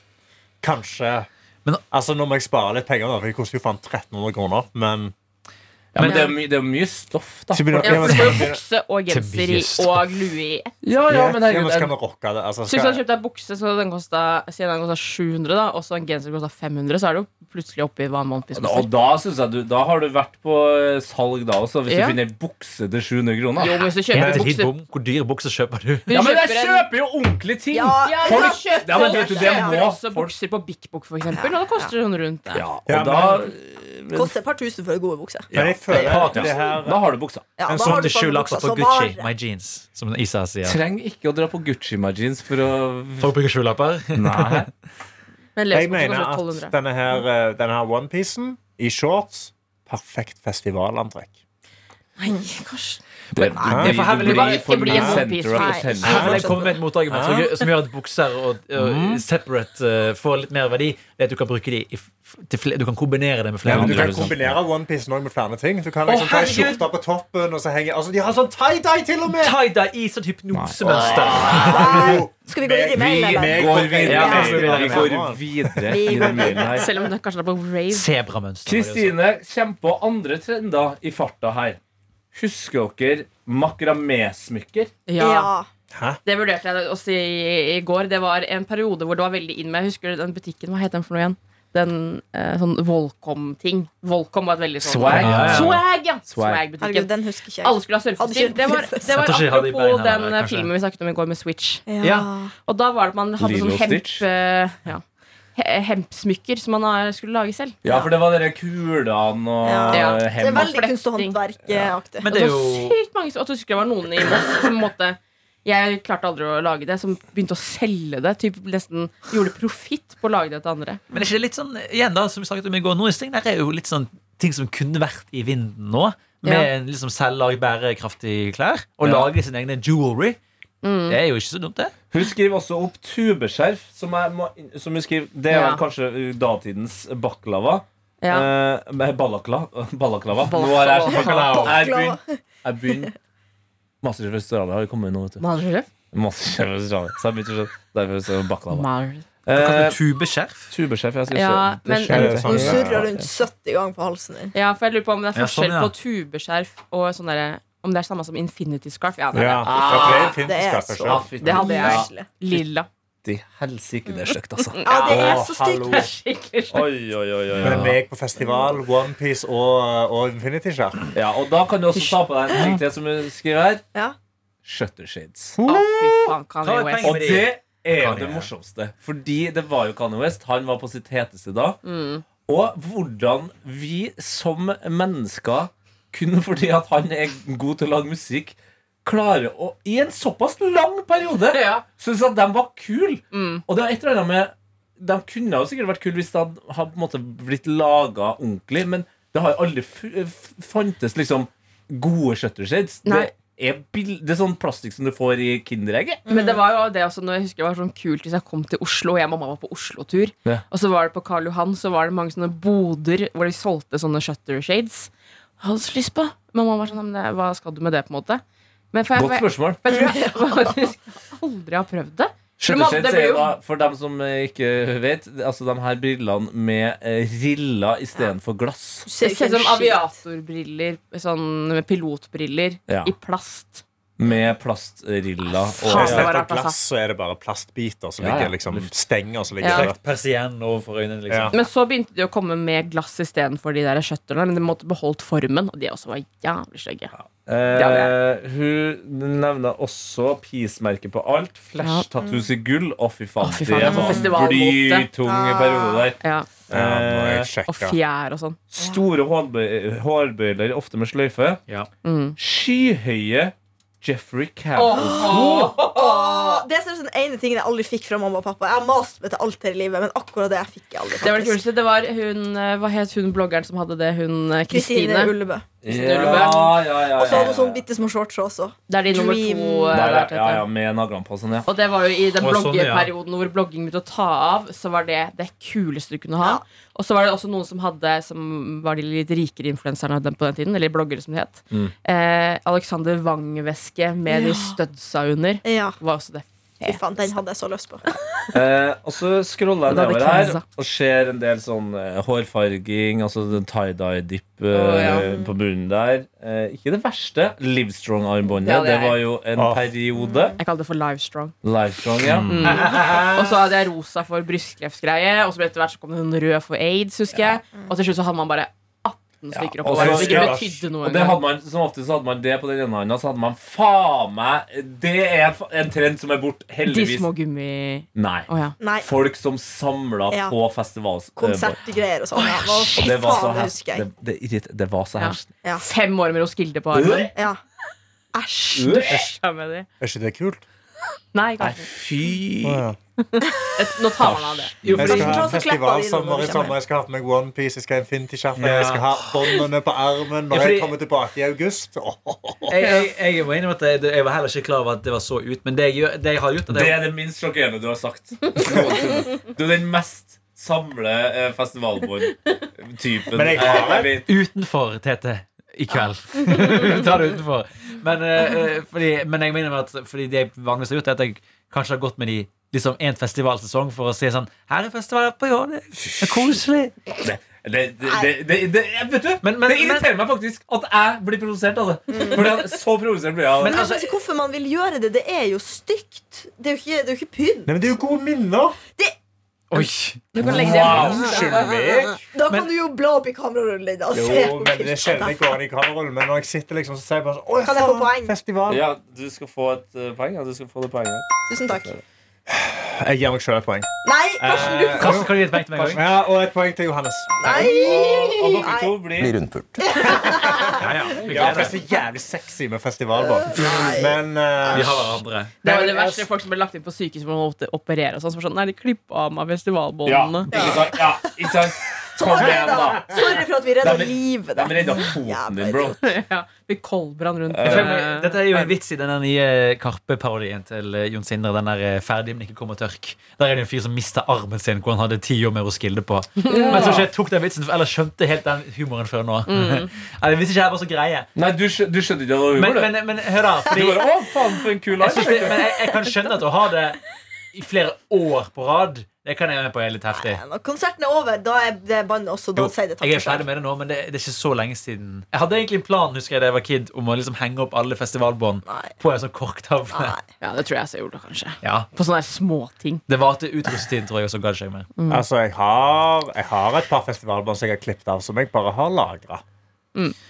Speaker 6: Kanskje
Speaker 4: Men-
Speaker 6: Altså, Nå må jeg spare litt penger, da, for det koster jo faen 1300 kroner. Men
Speaker 2: Ja, men det er, mye, det er mye stoff, da.
Speaker 6: skal vi,
Speaker 3: Ja,
Speaker 6: ja,
Speaker 3: for
Speaker 6: men,
Speaker 3: det
Speaker 6: skal
Speaker 3: var
Speaker 6: vi-
Speaker 3: bukse og genser i
Speaker 4: Tempest.
Speaker 3: og lue i ett.
Speaker 2: Ja, ja, men herregud.
Speaker 6: ja, men skal
Speaker 2: Jeg,
Speaker 6: vi rocke det? Altså,
Speaker 3: Så hvis du hadde
Speaker 6: skal,
Speaker 3: kjøpt deg bukse, så den kosta, siden den kosta 700, da, og så en genser kosta 500, så er det jo plutselig oppe i hva en måned
Speaker 2: og
Speaker 3: koster.
Speaker 2: da synes jeg du Da har du vært på eh, salg, da også, hvis du
Speaker 3: Ja.
Speaker 2: finner ei bukse til 700 kroner.
Speaker 3: Jo, men hvis du kjøper en
Speaker 4: helt
Speaker 3: bukse
Speaker 4: dritbom. Hvor dyre bukser kjøper du?
Speaker 3: Hun
Speaker 2: Ja, men jeg
Speaker 3: en-
Speaker 2: kjøper jo ordentlige ting!
Speaker 7: Ja,
Speaker 3: Ja,
Speaker 2: Folk-
Speaker 3: folk kjøper
Speaker 2: Ja, men vet du, det
Speaker 3: folk
Speaker 2: må
Speaker 3: kjøper også
Speaker 2: folk-
Speaker 3: bukser på Bik Bok, for eksempel. Og da koster hun rundt det.
Speaker 2: Ja, og
Speaker 6: Ja, men-
Speaker 2: da, eh,
Speaker 7: Koster et par tusen for en god bukse.
Speaker 6: men jeg føler at det her eh.
Speaker 2: da har du buksa.
Speaker 7: Ja,
Speaker 4: En
Speaker 7: da har
Speaker 4: sånn
Speaker 7: du
Speaker 4: til sju
Speaker 7: sånne
Speaker 4: lapper
Speaker 7: bukser
Speaker 4: på
Speaker 7: som
Speaker 4: Gucci.
Speaker 7: varer.
Speaker 4: My jeans, som Isa sier.
Speaker 2: Trenger ikke å dra på Gucci Magins for å
Speaker 4: Folk bruker sju lapper.
Speaker 2: Nei.
Speaker 3: Men leseposen
Speaker 6: Jeg mener
Speaker 3: koster
Speaker 6: at
Speaker 3: 1200.
Speaker 6: denne her,
Speaker 3: Mm.
Speaker 6: eh, denne her onepiecen i shorts Perfekt festivalantrekk.
Speaker 7: Nei, Karsten.
Speaker 2: Det,
Speaker 6: Nei,
Speaker 4: for her vil jeg
Speaker 3: bare ikke bli en
Speaker 2: senter
Speaker 3: onepiece.
Speaker 2: of
Speaker 7: Nei.
Speaker 2: attention.
Speaker 4: Her vil jeg komme med et motargument som,
Speaker 6: Ah.
Speaker 4: som gjør at bukser og, og separate eh, får litt mer verdi. Det er at du kan bruke de i, f- til flere, Du kan kombinere det med
Speaker 6: Ja,
Speaker 4: flere
Speaker 6: men du kan
Speaker 4: andre. liksom.
Speaker 6: kombinere onepiece med flere ting. Du kan liksom ta en
Speaker 4: herregud!
Speaker 6: skjorte på toppen, og så henge altså, De har sånn tie-dye til og med!
Speaker 4: Tie-dye i sånn hypnosemønster.
Speaker 6: Hallo!
Speaker 7: Skal vi gå videre i mailen, eller?
Speaker 2: Går videre.
Speaker 4: Ja, vi går videre.
Speaker 2: Vi
Speaker 6: sånn.
Speaker 2: går videre i den mailen her.
Speaker 3: Selv om det kanskje er på rave.
Speaker 4: Sebramønster. var det også.
Speaker 2: Kristine kommer på andre trender i farta her. Husker dere makramé-smykker?
Speaker 3: Ja,
Speaker 7: Ja.
Speaker 3: Det vurderte jeg også i, i går. Det var en periode hvor det var veldig inn med Jeg husker den butikken, hva het den for noe igjen? Den eh, sånn Volcom-ting. Volcom var et veldig sånn
Speaker 2: Swag.
Speaker 4: Ja, ja.
Speaker 3: Swag, ja!
Speaker 2: Swag.
Speaker 7: Herregud,
Speaker 3: Swag-butikken.
Speaker 7: den husker ikke
Speaker 3: Alle
Speaker 7: jeg.
Speaker 3: skulle ha surfestyr.
Speaker 7: Hadde ikke-
Speaker 3: Det var, det
Speaker 4: Jeg
Speaker 3: var
Speaker 4: tror ikke de hadde i
Speaker 3: apropos
Speaker 4: beina,
Speaker 3: den
Speaker 4: nei,
Speaker 3: eh,
Speaker 4: kanskje.
Speaker 3: filmen vi snakket om i går med Switch.
Speaker 4: Ja.
Speaker 3: Og da var det at man hadde
Speaker 2: Lilo
Speaker 3: sånn hemp,
Speaker 2: Stitch.
Speaker 3: eh, ja, he- hempsmykker som man eh, skulle lage selv.
Speaker 2: Ja, for det var de kulene og eh,
Speaker 3: Ja.
Speaker 7: Det er
Speaker 2: hem.
Speaker 7: veldig kunst- og håndverkaktig.
Speaker 4: Men det er jo
Speaker 3: Og så sykt mange som- Og så husker jeg det var noen i Moss som på en måte Jeg klarte aldri å lage det, som begynte å selge det. Typ nesten gjorde profitt på å lage det til andre.
Speaker 4: Men er ikke det litt sånn Igjen da, som vi snakket om i går, noen ting der er jo litt sånn ting som kunne vært i vinden nå. Med
Speaker 3: Ja.
Speaker 4: en liksom selvlag bærekraftige klær. Og
Speaker 2: Ja.
Speaker 4: lage sine egne jewelry. Det er jo ikke så dumt, det.
Speaker 2: Hun skriver også opp tubeskjerf, som, jeg må, som hun skriver Det er vel
Speaker 3: Ja.
Speaker 2: kanskje uh, datidens baklava.
Speaker 3: Ja.
Speaker 2: Eh, med ballakla, ballaklava. Nå har jeg Jeg begynner- Jeg begynner Masterchef Australia har jo kommet nå, vet du.
Speaker 3: Masterchef?
Speaker 2: Masterchef Australia. Så jeg begynte å skjønne. Derfor så er det baklava.
Speaker 3: Mar-
Speaker 2: Eh,
Speaker 4: Tubeskjerf?
Speaker 2: tubeskjerf, jeg skal
Speaker 3: Ja,
Speaker 2: skjønne. sånn-
Speaker 3: men-
Speaker 2: skjønner jeg
Speaker 7: Hun
Speaker 2: ikke.
Speaker 7: surrer rundt 70 ganger på halsen din.
Speaker 3: Ja, for jeg lurer på om det er
Speaker 4: Ja,
Speaker 3: forskjell
Speaker 4: sånn, ja.
Speaker 3: på tubeskjerf og sånn derre Om det er samme som infinity scarf. Ja, det er
Speaker 6: Ja,
Speaker 3: Ah, det.
Speaker 6: for det
Speaker 7: det er
Speaker 6: er
Speaker 7: så-
Speaker 2: Ja,
Speaker 6: fint
Speaker 2: fytti
Speaker 3: Det hadde jeg.
Speaker 7: Usle.
Speaker 3: Lilla.
Speaker 2: helsike, det er stygt, altså.
Speaker 3: Mm.
Speaker 7: Ja, det er så
Speaker 6: hallo.
Speaker 7: stygt.
Speaker 3: Skikkelig
Speaker 2: Oi, oi, oi, oi,
Speaker 6: Men
Speaker 2: oi.
Speaker 6: meg på festival, Onepiece og, og Infinity-skjerf.
Speaker 2: Ja, og da kan du også ta på deg en ting til som hun skriver her.
Speaker 7: Ja.
Speaker 2: Shutter shades.
Speaker 3: Å, fy faen, Kanye
Speaker 4: Ta et
Speaker 3: West.
Speaker 4: poeng.
Speaker 2: Og det er jo
Speaker 4: Kanye.
Speaker 2: det morsomste. Fordi det var jo Kanye West. Han var på sitt heteste da.
Speaker 3: Mm.
Speaker 2: Og hvordan vi som mennesker, kun fordi at han er god til å lage musikk, klarer å i en såpass lang periode
Speaker 3: Ja.
Speaker 2: synes at de var kule.
Speaker 3: Mm.
Speaker 2: Og det er et eller annet med De kunne jo sikkert vært kule hvis det hadde hadde på en måte blitt laga ordentlig, men det har jo aldri fu- f- fantes liksom gode shutter shades.
Speaker 3: Nei.
Speaker 2: Det er, bill- det er sånn plastikk som du får i Kinderegget.
Speaker 3: Men det var jo det også, når jeg husker det var sånn kult hvis jeg kom til Oslo, og jeg og mamma var på Oslo-tur,
Speaker 2: Ja.
Speaker 3: og så var det på Karl Johan, så var det mange sånne boder hvor de solgte sånne shutter shades. Jeg hadde så lyst på. Mamma var sånn, "Ja, men det- hva skal du med det, på en måte? Men for jeg,
Speaker 2: Godt
Speaker 3: for jeg,
Speaker 2: spørsmål.
Speaker 3: for jeg tror jeg faktisk aldri har prøvd det. For
Speaker 2: Shutter
Speaker 3: man- det
Speaker 2: shades
Speaker 3: blir
Speaker 2: er
Speaker 3: jo-
Speaker 2: da, for dem som eh, ikke vet, altså de her brillene med eh, riller istedenfor glass.
Speaker 7: Du
Speaker 3: Det
Speaker 7: ser
Speaker 3: ser
Speaker 7: ikke
Speaker 3: ut som
Speaker 7: en skit.
Speaker 3: aviatorbriller, sånn med pilotbriller,
Speaker 2: Ja.
Speaker 3: i plast.
Speaker 2: Med plastriller.
Speaker 3: Faen,
Speaker 2: Og,
Speaker 3: det var
Speaker 6: Istedenfor
Speaker 3: rart, altså.
Speaker 6: glass så er det bare plastbiter som
Speaker 2: Ja, ja.
Speaker 6: ligger liksom stenger som ligger
Speaker 3: Ja.
Speaker 6: der.
Speaker 4: Persien overfor øynene,
Speaker 6: Ja.
Speaker 4: liksom.
Speaker 3: Men så begynte de å komme med glass istedenfor de der shutterne, men de måtte beholdt formen, og de også var jævlig stygge. Ja,
Speaker 2: eh, hun nevner også prismerket på alt. Flash tattoos i gull. Å, fy faen.
Speaker 3: Å, fy faen,
Speaker 2: det
Speaker 3: det var
Speaker 2: var en
Speaker 3: festivalmåte.
Speaker 2: blytung periode der. Eh,
Speaker 3: Ja,
Speaker 6: Ja, nå må jeg
Speaker 3: og
Speaker 6: sjekke.
Speaker 3: fjær og sånn.
Speaker 2: Store hårbøy- hårbøyler, ofte med sløyfe.
Speaker 4: Ja.
Speaker 3: Mm.
Speaker 2: Skyhøye Jeffrey Campbell-sko.
Speaker 7: Åh, Det er sånn den ene tingen jeg aldri fikk fra mamma og pappa. Jeg har mast meg til alt her i livet, men akkurat det jeg fikk jeg aldri.
Speaker 3: Det var det
Speaker 7: faktisk.
Speaker 3: kuleste. Det var hun, eh, hva het hun bloggeren som hadde det? Hun eh,
Speaker 7: Kristine
Speaker 3: Kristine.
Speaker 7: Ullebø.
Speaker 2: Ja, ja, ja,
Speaker 7: Og så hadde hun
Speaker 2: ja.
Speaker 7: sånn bitte små shorts også.
Speaker 3: Det er de nummer
Speaker 7: Dream.
Speaker 3: to. eh,
Speaker 2: Der,
Speaker 3: vært
Speaker 2: der, ja,
Speaker 3: etter.
Speaker 2: ja, med naglene på og sånn, ja.
Speaker 3: Og det var jo i den
Speaker 4: Å, sånn, ja.
Speaker 3: bloggperioden hvor blogging begynte å ta av, så var det det kuleste du kunne ha.
Speaker 7: Ja.
Speaker 3: Og så var det også noen som hadde Som var de litt rikere influenserne den- på den tiden, eller bloggere som det het.
Speaker 2: Mm.
Speaker 3: Eh, Alexander Wang-veske med
Speaker 7: Ja.
Speaker 3: de studsa under.
Speaker 7: Ja,
Speaker 3: Var også det.
Speaker 7: fy faen, Den hadde jeg så lyst på.
Speaker 2: Eh, og så scroller jeg
Speaker 3: Da er det
Speaker 2: nedover her
Speaker 3: Kenza.
Speaker 2: og ser en del sånn eh, hårfarging, altså den tie-dye-dipp eh,
Speaker 3: Å, ja.
Speaker 2: på bunnen der. Eh, ikke det verste. Livestrong-armbåndet.
Speaker 3: Ja, det
Speaker 2: det,
Speaker 3: er-
Speaker 2: var jo en
Speaker 6: Åh.
Speaker 2: periode.
Speaker 3: Jeg kaller det for Livestrong.
Speaker 2: Livestrong, ja.
Speaker 3: Og så hadde jeg rosa for brystkreftgreie, og så ble etter hvert så kom det en rød for aids, husker jeg. Og til slutt så hadde man bare 18 stykker
Speaker 2: og
Speaker 3: oppå hverandre.
Speaker 2: så-
Speaker 3: Det ikke betydde noe
Speaker 2: Og det hadde
Speaker 3: engang.
Speaker 2: man, Som ofte så hadde man det på den ene hånda, så hadde man faen meg Det er fa- en trend som er borte,
Speaker 3: De
Speaker 2: heldigvis.
Speaker 3: små gummi...
Speaker 2: Nei.
Speaker 3: Å ja.
Speaker 7: Nei,
Speaker 2: Folk som samla
Speaker 7: Ja.
Speaker 2: på festivals... eh,
Speaker 7: konsertgreier og sånn. Ja. Hva
Speaker 2: Og det var så
Speaker 7: faen, det husker
Speaker 2: herskende.
Speaker 7: jeg.
Speaker 2: Det, det, irrit- det var så
Speaker 3: Ja.
Speaker 2: herskende.
Speaker 7: Ja.
Speaker 3: Fem år med Roskilde på armen.
Speaker 7: Ja. Æsj.
Speaker 2: Æsj.
Speaker 3: Ja, med de.
Speaker 6: Er ikke det kult?
Speaker 3: Nei,
Speaker 2: Nei,
Speaker 3: kanskje
Speaker 2: fy
Speaker 6: Å, ja.
Speaker 3: Et- Nå tar man av det.
Speaker 4: Jo,
Speaker 6: Jeg
Speaker 4: fordi,
Speaker 6: skal
Speaker 7: Ta
Speaker 6: ha
Speaker 7: så
Speaker 6: en
Speaker 7: klapper vi når
Speaker 6: festivalsommer
Speaker 7: vi
Speaker 6: i sommer. Jeg skal ha på meg onepiece, jeg skal ha infinity-skjerf,
Speaker 4: Ja.
Speaker 6: jeg skal ha båndene på
Speaker 2: Ja,
Speaker 6: armen når
Speaker 2: fordi-
Speaker 6: jeg kommer tilbake i august. Åh,
Speaker 4: jeg, jeg, jeg må innrømme at jeg, jeg var heller ikke klar over at det var så ut, men det jeg, gjør- det jeg har gjort at
Speaker 2: Det
Speaker 4: jeg,
Speaker 2: er det minst sjokkerende du har sagt. Noensinne. Du er den mest samle eh, festivalbord-typen
Speaker 6: Men jeg
Speaker 2: eh,
Speaker 6: har det.
Speaker 2: vet.
Speaker 4: Utenfor, Tete. I kveld. Ta det utenfor. Men, eh, eh, fordi, men jeg mener at Fordi det jeg vanligvis har gjort, er at jeg kanskje har gått med de liksom en festivalsesong for å si sånn Her er festivaler på i år, det er koselig.
Speaker 2: Det, det, det, det, det, jeg- vet du,
Speaker 4: Men- men-
Speaker 2: det irriterer meg faktisk at jeg blir provosert av det. Fordi at så provosert blir jeg av det.
Speaker 7: Men jeg skjønner ikke hvorfor man vil gjøre det. Det er jo stygt. Det er jo ikke, det er jo ikke pynt.
Speaker 6: Nei, men det er jo gode minner!
Speaker 4: Oi.
Speaker 3: Du kan legge det
Speaker 2: Wow.
Speaker 6: Unnskyld meg.
Speaker 7: Da kan du jo bla opp i kamerarullen din og
Speaker 6: Jo,
Speaker 7: se på
Speaker 6: men det er sjelden jeg
Speaker 7: bildet.
Speaker 6: går inn i kamerarullen. Men når jeg sitter liksom, så sier jeg bare sånn Å,
Speaker 7: Kan jeg få poeng?
Speaker 6: Festival.
Speaker 2: Ja, du skal få et eh, poeng. Ja, du skal få det poenget.
Speaker 7: Tusen takk.
Speaker 6: Jeg gir meg sjøl et poeng.
Speaker 7: Nei, Karsten,
Speaker 2: Eh,
Speaker 7: du
Speaker 4: Karsten, kan du gi et poeng til meg en gang?
Speaker 6: Eh, Ja, og et poeng til Johannes.
Speaker 7: Nei!
Speaker 2: Og, og dere to blir
Speaker 4: Ja, ja.
Speaker 6: Ja,
Speaker 4: Vi gleder
Speaker 6: for det er
Speaker 4: oss.
Speaker 6: så jævlig sexy med festival, da. Men eh,
Speaker 4: Vi har hverandre.
Speaker 3: Det var det verste folk som ble lagt inn på sykehus hvor man måtte operere og sånn. Som var sånn, nei, de klippet av meg
Speaker 2: Ja,
Speaker 3: festivalbåndene.
Speaker 2: ikke sant? Ja, ikke sant?
Speaker 7: Sorry,
Speaker 2: Kom igjen,
Speaker 7: da.
Speaker 2: da.
Speaker 7: Sorry for at vi redda
Speaker 2: Nei, men-
Speaker 7: livet
Speaker 2: De redda
Speaker 7: ditt.
Speaker 2: foten
Speaker 7: Jævla
Speaker 2: din, bro.
Speaker 3: ja, vi kolbrann rundt.
Speaker 2: Eh,
Speaker 3: eh,
Speaker 4: Dette er jo en vits i den der nye Karpe-parodien til eh, Jon Sindre. Den der eh, 'Ferdig, men ikke kommer tørk'. Der er det en fyr som mista armen sin, hvor han hadde ti år med Roskilde på. Men jeg tror ikke jeg tok den vitsen, for ellers skjønte jeg helt den humoren før nå.
Speaker 7: Mm.
Speaker 4: Nei, jeg visste ikke jeg var så greie.
Speaker 2: Nei, du, skjø- du skjønte ikke at det var
Speaker 4: Men,
Speaker 2: humor,
Speaker 4: men, men hør da.
Speaker 2: du.
Speaker 4: Fordi,
Speaker 2: Du bare, å, faen, for en kul
Speaker 4: jeg, synes
Speaker 2: live.
Speaker 4: det, men jeg, jeg kan skjønne at å ha det i flere år på rad, det kan jeg være med på er litt heftig.
Speaker 7: Når konserten er over, da er det bann også. Da
Speaker 4: Jo,
Speaker 7: sier det takk
Speaker 4: Jeg er
Speaker 7: for
Speaker 4: ferdig
Speaker 7: seg.
Speaker 4: med det nå, men det, det er ikke så lenge siden. Jeg hadde egentlig en plan husker jeg, da jeg var kid om å liksom henge opp alle festivalbånd
Speaker 7: Nei.
Speaker 4: på en sånn korktavle.
Speaker 7: Nei.
Speaker 3: ja, det tror jeg så jeg gjorde, kanskje.
Speaker 4: Ja,
Speaker 3: På sånne der småting.
Speaker 4: Det varte ut russetiden, tror jeg. og så ga det seg mer.
Speaker 6: Altså, jeg har, jeg har et par festivalbånd som jeg har klippet av, som jeg bare har lagra.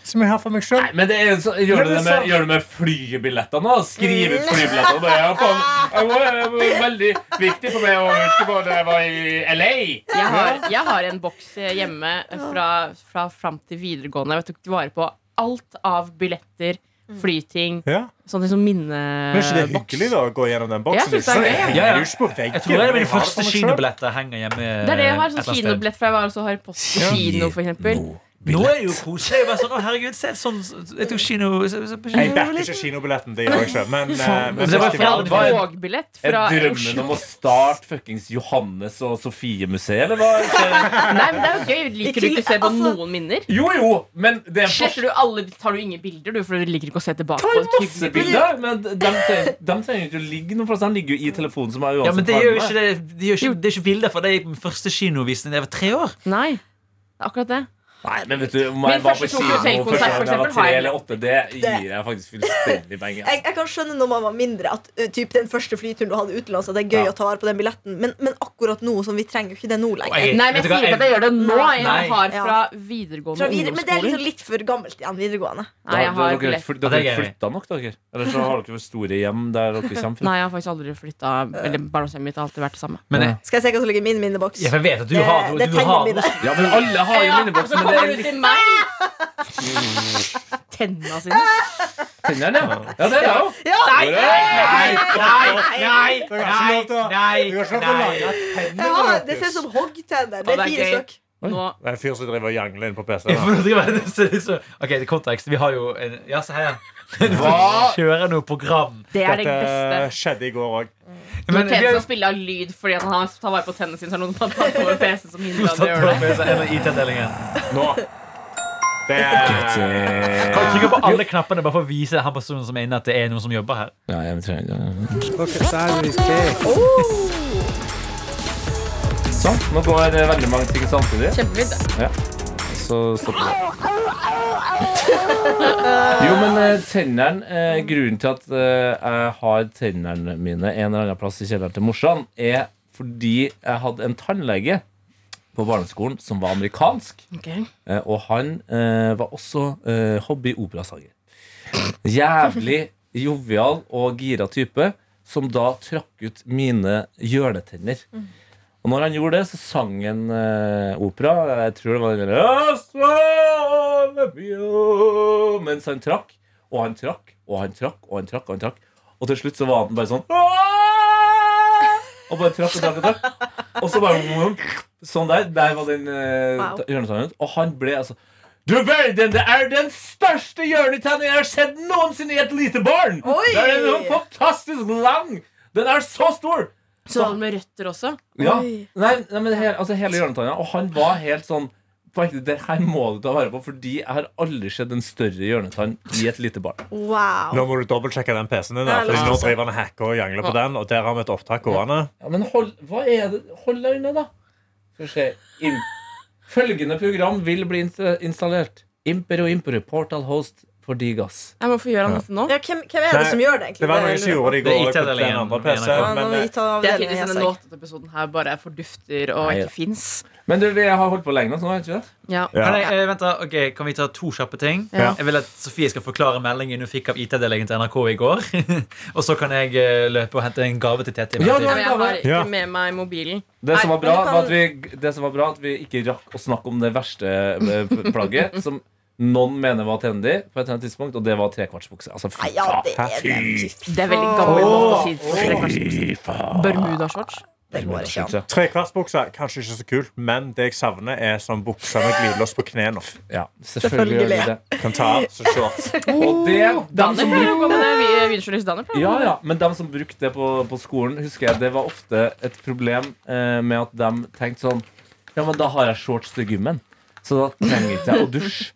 Speaker 6: Som jeg har for meg sjøl.
Speaker 2: Men det er, så, gjør, du det
Speaker 4: Sånn.
Speaker 2: med, gjør du med flybillettene? da? Skriv ut flybillettene. Bare, ja, faen, jeg var, jeg var veldig viktig for meg å huske på da jeg var i LA.
Speaker 3: Jeg har, jeg har en boks hjemme fra, fra fram til videregående. Jeg tok vare på alt av billetter,
Speaker 7: Mm.
Speaker 3: flyting,
Speaker 6: Ja.
Speaker 3: sånn liksom
Speaker 6: Men er ikke det
Speaker 3: minneboks.
Speaker 6: hyggelig da, å gå gjennom den boksen?
Speaker 3: Eh, Jeg synes det er
Speaker 6: Sånn,
Speaker 3: gøy, ja.
Speaker 6: henger
Speaker 4: Ja, ja.
Speaker 6: jo ikke på veggen,
Speaker 4: Jeg tror det er
Speaker 6: men
Speaker 4: mine
Speaker 6: har det for
Speaker 4: første
Speaker 6: meg selv.
Speaker 4: kinobilletter henger hjemme.
Speaker 3: Det er det jeg har.
Speaker 4: et eller
Speaker 3: sånn
Speaker 4: annet sted.
Speaker 3: Kinobillett fra jeg var også har post i kino, for eksempel.
Speaker 4: Nå er det jo koselig. Jeg, bare sånn, å, herregud, se, sånn, jeg tok kino så, så, på
Speaker 6: Jeg
Speaker 4: kino.
Speaker 6: backer ikke kinobilletten, det gjør jeg ikke. Men, eh, men
Speaker 4: det var
Speaker 3: Jeg
Speaker 6: festivalen-
Speaker 3: hadde
Speaker 2: Hva er-
Speaker 3: togbillett
Speaker 2: Er
Speaker 3: fra
Speaker 2: drømmen
Speaker 3: Oslo.
Speaker 2: om å starte fuckings Johannes og Sofie-museet, eller hva?
Speaker 3: Nei, men det er jo gøy. Liker du ikke å se på
Speaker 7: Altså-
Speaker 3: noen minner?
Speaker 2: Jo, jo, men det er en forskjell.
Speaker 3: Sletter du alle, tar du ingen bilder, du, for du liker ikke å se tilbake
Speaker 2: Det
Speaker 3: på
Speaker 2: var
Speaker 3: et
Speaker 2: masse
Speaker 3: hyggelig
Speaker 2: bilder, men de, trenger- de trenger ikke å ligge noen plass. Han ligger jo i telefonen. som er uansett
Speaker 4: Ja, men Det er
Speaker 2: varme.
Speaker 4: jo ikke, det, det er jo ikke, det er ikke bilder fra det jeg gikk på min første kinovisning da jeg var tre år.
Speaker 3: Nei. Det er akkurat det.
Speaker 2: Nei, men vet du, om
Speaker 3: Min
Speaker 2: jeg var på
Speaker 3: første Tokyo
Speaker 2: kino første
Speaker 3: Hotel-konsert,
Speaker 2: gang jeg
Speaker 3: for
Speaker 2: var
Speaker 3: eksempel, har
Speaker 2: tre
Speaker 3: jeg-
Speaker 2: eller åtte, det gir jeg faktisk fullstendig penger.
Speaker 7: Jeg, jeg kan skjønne når man var mindre, at ø, typ, den første flyturen du hadde utenlands, at det er gøy
Speaker 2: Ja.
Speaker 7: å ta vare på den billetten, men, men akkurat nå, sånn, vi trenger jo ikke det nå lenger.
Speaker 4: Oi.
Speaker 3: Nei, men
Speaker 4: Vet
Speaker 3: jeg
Speaker 4: du hva,
Speaker 3: sier ikke at
Speaker 4: jeg-
Speaker 3: jeg gjør det nå.
Speaker 4: Nei.
Speaker 3: Jeg har fra
Speaker 7: Ja. Fra
Speaker 3: videregående
Speaker 7: videre, men det
Speaker 3: ungdomsskole.
Speaker 7: er liksom litt for gammelt igjen, videregående.
Speaker 3: Nei, jeg har
Speaker 2: dere,
Speaker 3: billett.
Speaker 2: flyt-
Speaker 4: Ja, det
Speaker 2: dere
Speaker 4: er gøy.
Speaker 2: flytta nok, dere. Eller så har dere for store hjem der dere kommer fra.
Speaker 3: Nei, jeg har faktisk aldri flytta Eller barndomshjemmet mitt har alltid vært det samme.
Speaker 4: Men jeg,
Speaker 7: Skal jeg se hva som ligger i min minneboks?
Speaker 4: jeg vet at du
Speaker 7: Det-
Speaker 4: har
Speaker 7: det er
Speaker 4: du har
Speaker 7: tennene mine.
Speaker 4: noe-
Speaker 2: Ja, men alle har jo minneboks, men det er litt
Speaker 3: Tenna sine.
Speaker 2: tennene, ja. Ja, det er det jo.
Speaker 3: Nei!
Speaker 4: Nei, nei, nei,
Speaker 6: Du har ikke lov til å-
Speaker 4: nei,
Speaker 6: du har ikke lov til å
Speaker 4: nei.
Speaker 6: lage tenner.
Speaker 7: Jeg har, det
Speaker 6: Markus.
Speaker 7: ser ut som hoggtenner. Det
Speaker 3: Ja,
Speaker 7: er
Speaker 3: det er
Speaker 7: fire
Speaker 3: gøy.
Speaker 7: stykk.
Speaker 3: Nå
Speaker 6: Det er en fyr som driver og jangler inn på
Speaker 4: Jeg
Speaker 6: PC-en.
Speaker 4: får lov til å være det, så- så- Ok, det er kontekst. Vi har jo en, Ja, se her, ja.
Speaker 2: Hva?
Speaker 4: Kjører noe program.
Speaker 3: Det er det
Speaker 6: Dette
Speaker 3: beste.
Speaker 6: skjedde i går òg.
Speaker 3: Når
Speaker 4: Men vi har
Speaker 3: Tete
Speaker 4: jo
Speaker 3: skal spille av lyd fordi at han tar vare på tennene sine, så er det noen som har tatt over PC-en som hindrer
Speaker 4: tatt
Speaker 3: han i å gjøre det.
Speaker 4: med seg en av IT-avdelingen.
Speaker 6: Nå. Det er
Speaker 4: Kan du trykke på alle knappene bare for å vise han personen som er inne, at det er noen som jobber her?
Speaker 2: Ja, jeg trenger Sånn. Nå går eh, veldig mange ting samtidig.
Speaker 3: Kjempefint.
Speaker 2: så stopper det. Jo, men eh, tenneren eh, Grunnen til at eh, jeg har tennene mine en eller annen plass i kjelleren til morsan, er fordi jeg hadde en tannlege på barneskolen som var amerikansk.
Speaker 3: Ok.
Speaker 2: Eh, og han eh, var også eh, hobby-operasanger. Jævlig jovial og gira type som da trakk ut mine hjørnetenner. Og når han gjorde det, så sang han eh, opera. Jeg tror det var den der, "I love you", Mens han trakk, og han trakk, og han trakk, og han trakk. Og han trakk Og til slutt så var han bare sånn "Åh!" Og bare trakk og trakk og trakk. Og så bare vroom, Sånn der. Der var den eh,
Speaker 7: Wow.
Speaker 2: ta- hjørnetangen. ut. Og han ble altså du verden, det er den største hjørnetannen jeg har sett noensinne i et lite barn!
Speaker 7: Oi!
Speaker 2: Den er så fantastisk lang! Den er så stor!
Speaker 3: Så han med røtter også?
Speaker 2: Ja.
Speaker 7: Oi.
Speaker 2: Nei, nei, men hele, altså hele hjørnetanna. Og han var helt sånn på ekte, Det her må du ta vare på, fordi jeg har aldri sett en større hjørnetann i et lite barn.
Speaker 7: Wow.
Speaker 6: Nå må du dobbeltsjekke den PC-en din.
Speaker 7: Ja,
Speaker 6: da, Fordi
Speaker 7: la
Speaker 6: nå
Speaker 7: oss se.
Speaker 6: driver han og hacker og jangler på den, og der har vi et opptak gående.
Speaker 2: Ja, Men hold hva er det? Hold deg unna, da. Skal vi se Im Følgende program vil bli insta- installert. Impero Impero Portal Host for Digas.
Speaker 3: Jeg må få gjøre han dette nå.
Speaker 7: Ja, hvem, hvem er det
Speaker 6: Nei,
Speaker 7: som gjør det, egentlig?
Speaker 6: Det var noen som gjorde det i
Speaker 4: Det er
Speaker 6: går på
Speaker 4: IT-avdelingen
Speaker 6: den andre
Speaker 4: på
Speaker 7: Ja,
Speaker 6: PC-en.
Speaker 7: nå
Speaker 6: Men
Speaker 7: må
Speaker 6: eh,
Speaker 7: vi ta
Speaker 3: Det er
Speaker 7: avdelingen,
Speaker 3: tydeligvis denne
Speaker 7: Jessek.
Speaker 3: låtepisoden her bare fordufter og
Speaker 2: Nei, ja.
Speaker 3: ikke fins.
Speaker 2: Men du, vi har holdt på lenge nok nå, har vi ikke det?
Speaker 3: Ja.
Speaker 6: Ja.
Speaker 4: Kan, jeg, eh, vent da, ok, kan vi ta to kjappe ting?
Speaker 3: Ja.
Speaker 4: Jeg vil at Sofie skal forklare meldingen hun fikk av IT-avdelingen til NRK i går. og så kan jeg eh, løpe og hente en gave til Tete. i
Speaker 2: Ja,
Speaker 4: mellomtiden.
Speaker 2: du
Speaker 3: Nei, men jeg har
Speaker 6: Ja.
Speaker 3: ikke med meg mobilen.
Speaker 2: Det som,
Speaker 3: Nei,
Speaker 2: var bra,
Speaker 7: men du kan-
Speaker 2: var at vi, det som var bra, at vi ikke rakk å snakke om det verste eh, plagget, som noen mener var trendy på et eller annet tidspunkt, og det var trekvartsbukse. Altså, fy
Speaker 7: Nei, ja,
Speaker 2: faen.
Speaker 7: det er det.
Speaker 3: Det er veldig gammel måte å si trekvartsbukse. Bermudashorts.
Speaker 7: Det går ikke an.
Speaker 6: Trekvartsbukser, kanskje ikke så kult, men det jeg savner, er sånn bukser med glidelås på knærne.
Speaker 2: Ja, selvfølgelig gjør vi det.
Speaker 6: Kan ta av så shorts.
Speaker 7: Oh,
Speaker 2: Og det, dem
Speaker 3: Danner
Speaker 2: som
Speaker 3: pleier å
Speaker 2: bruk,
Speaker 3: gå med det. vi- Videojournalist Danner pleier å
Speaker 2: ja,
Speaker 3: gå med det.
Speaker 2: ja, men dem som brukte det på, på skolen, husker jeg det var ofte et problem eh, med at de tenkte sånn Ja, men da har jeg shorts til gymmen, så da trenger ikke jeg å dusje.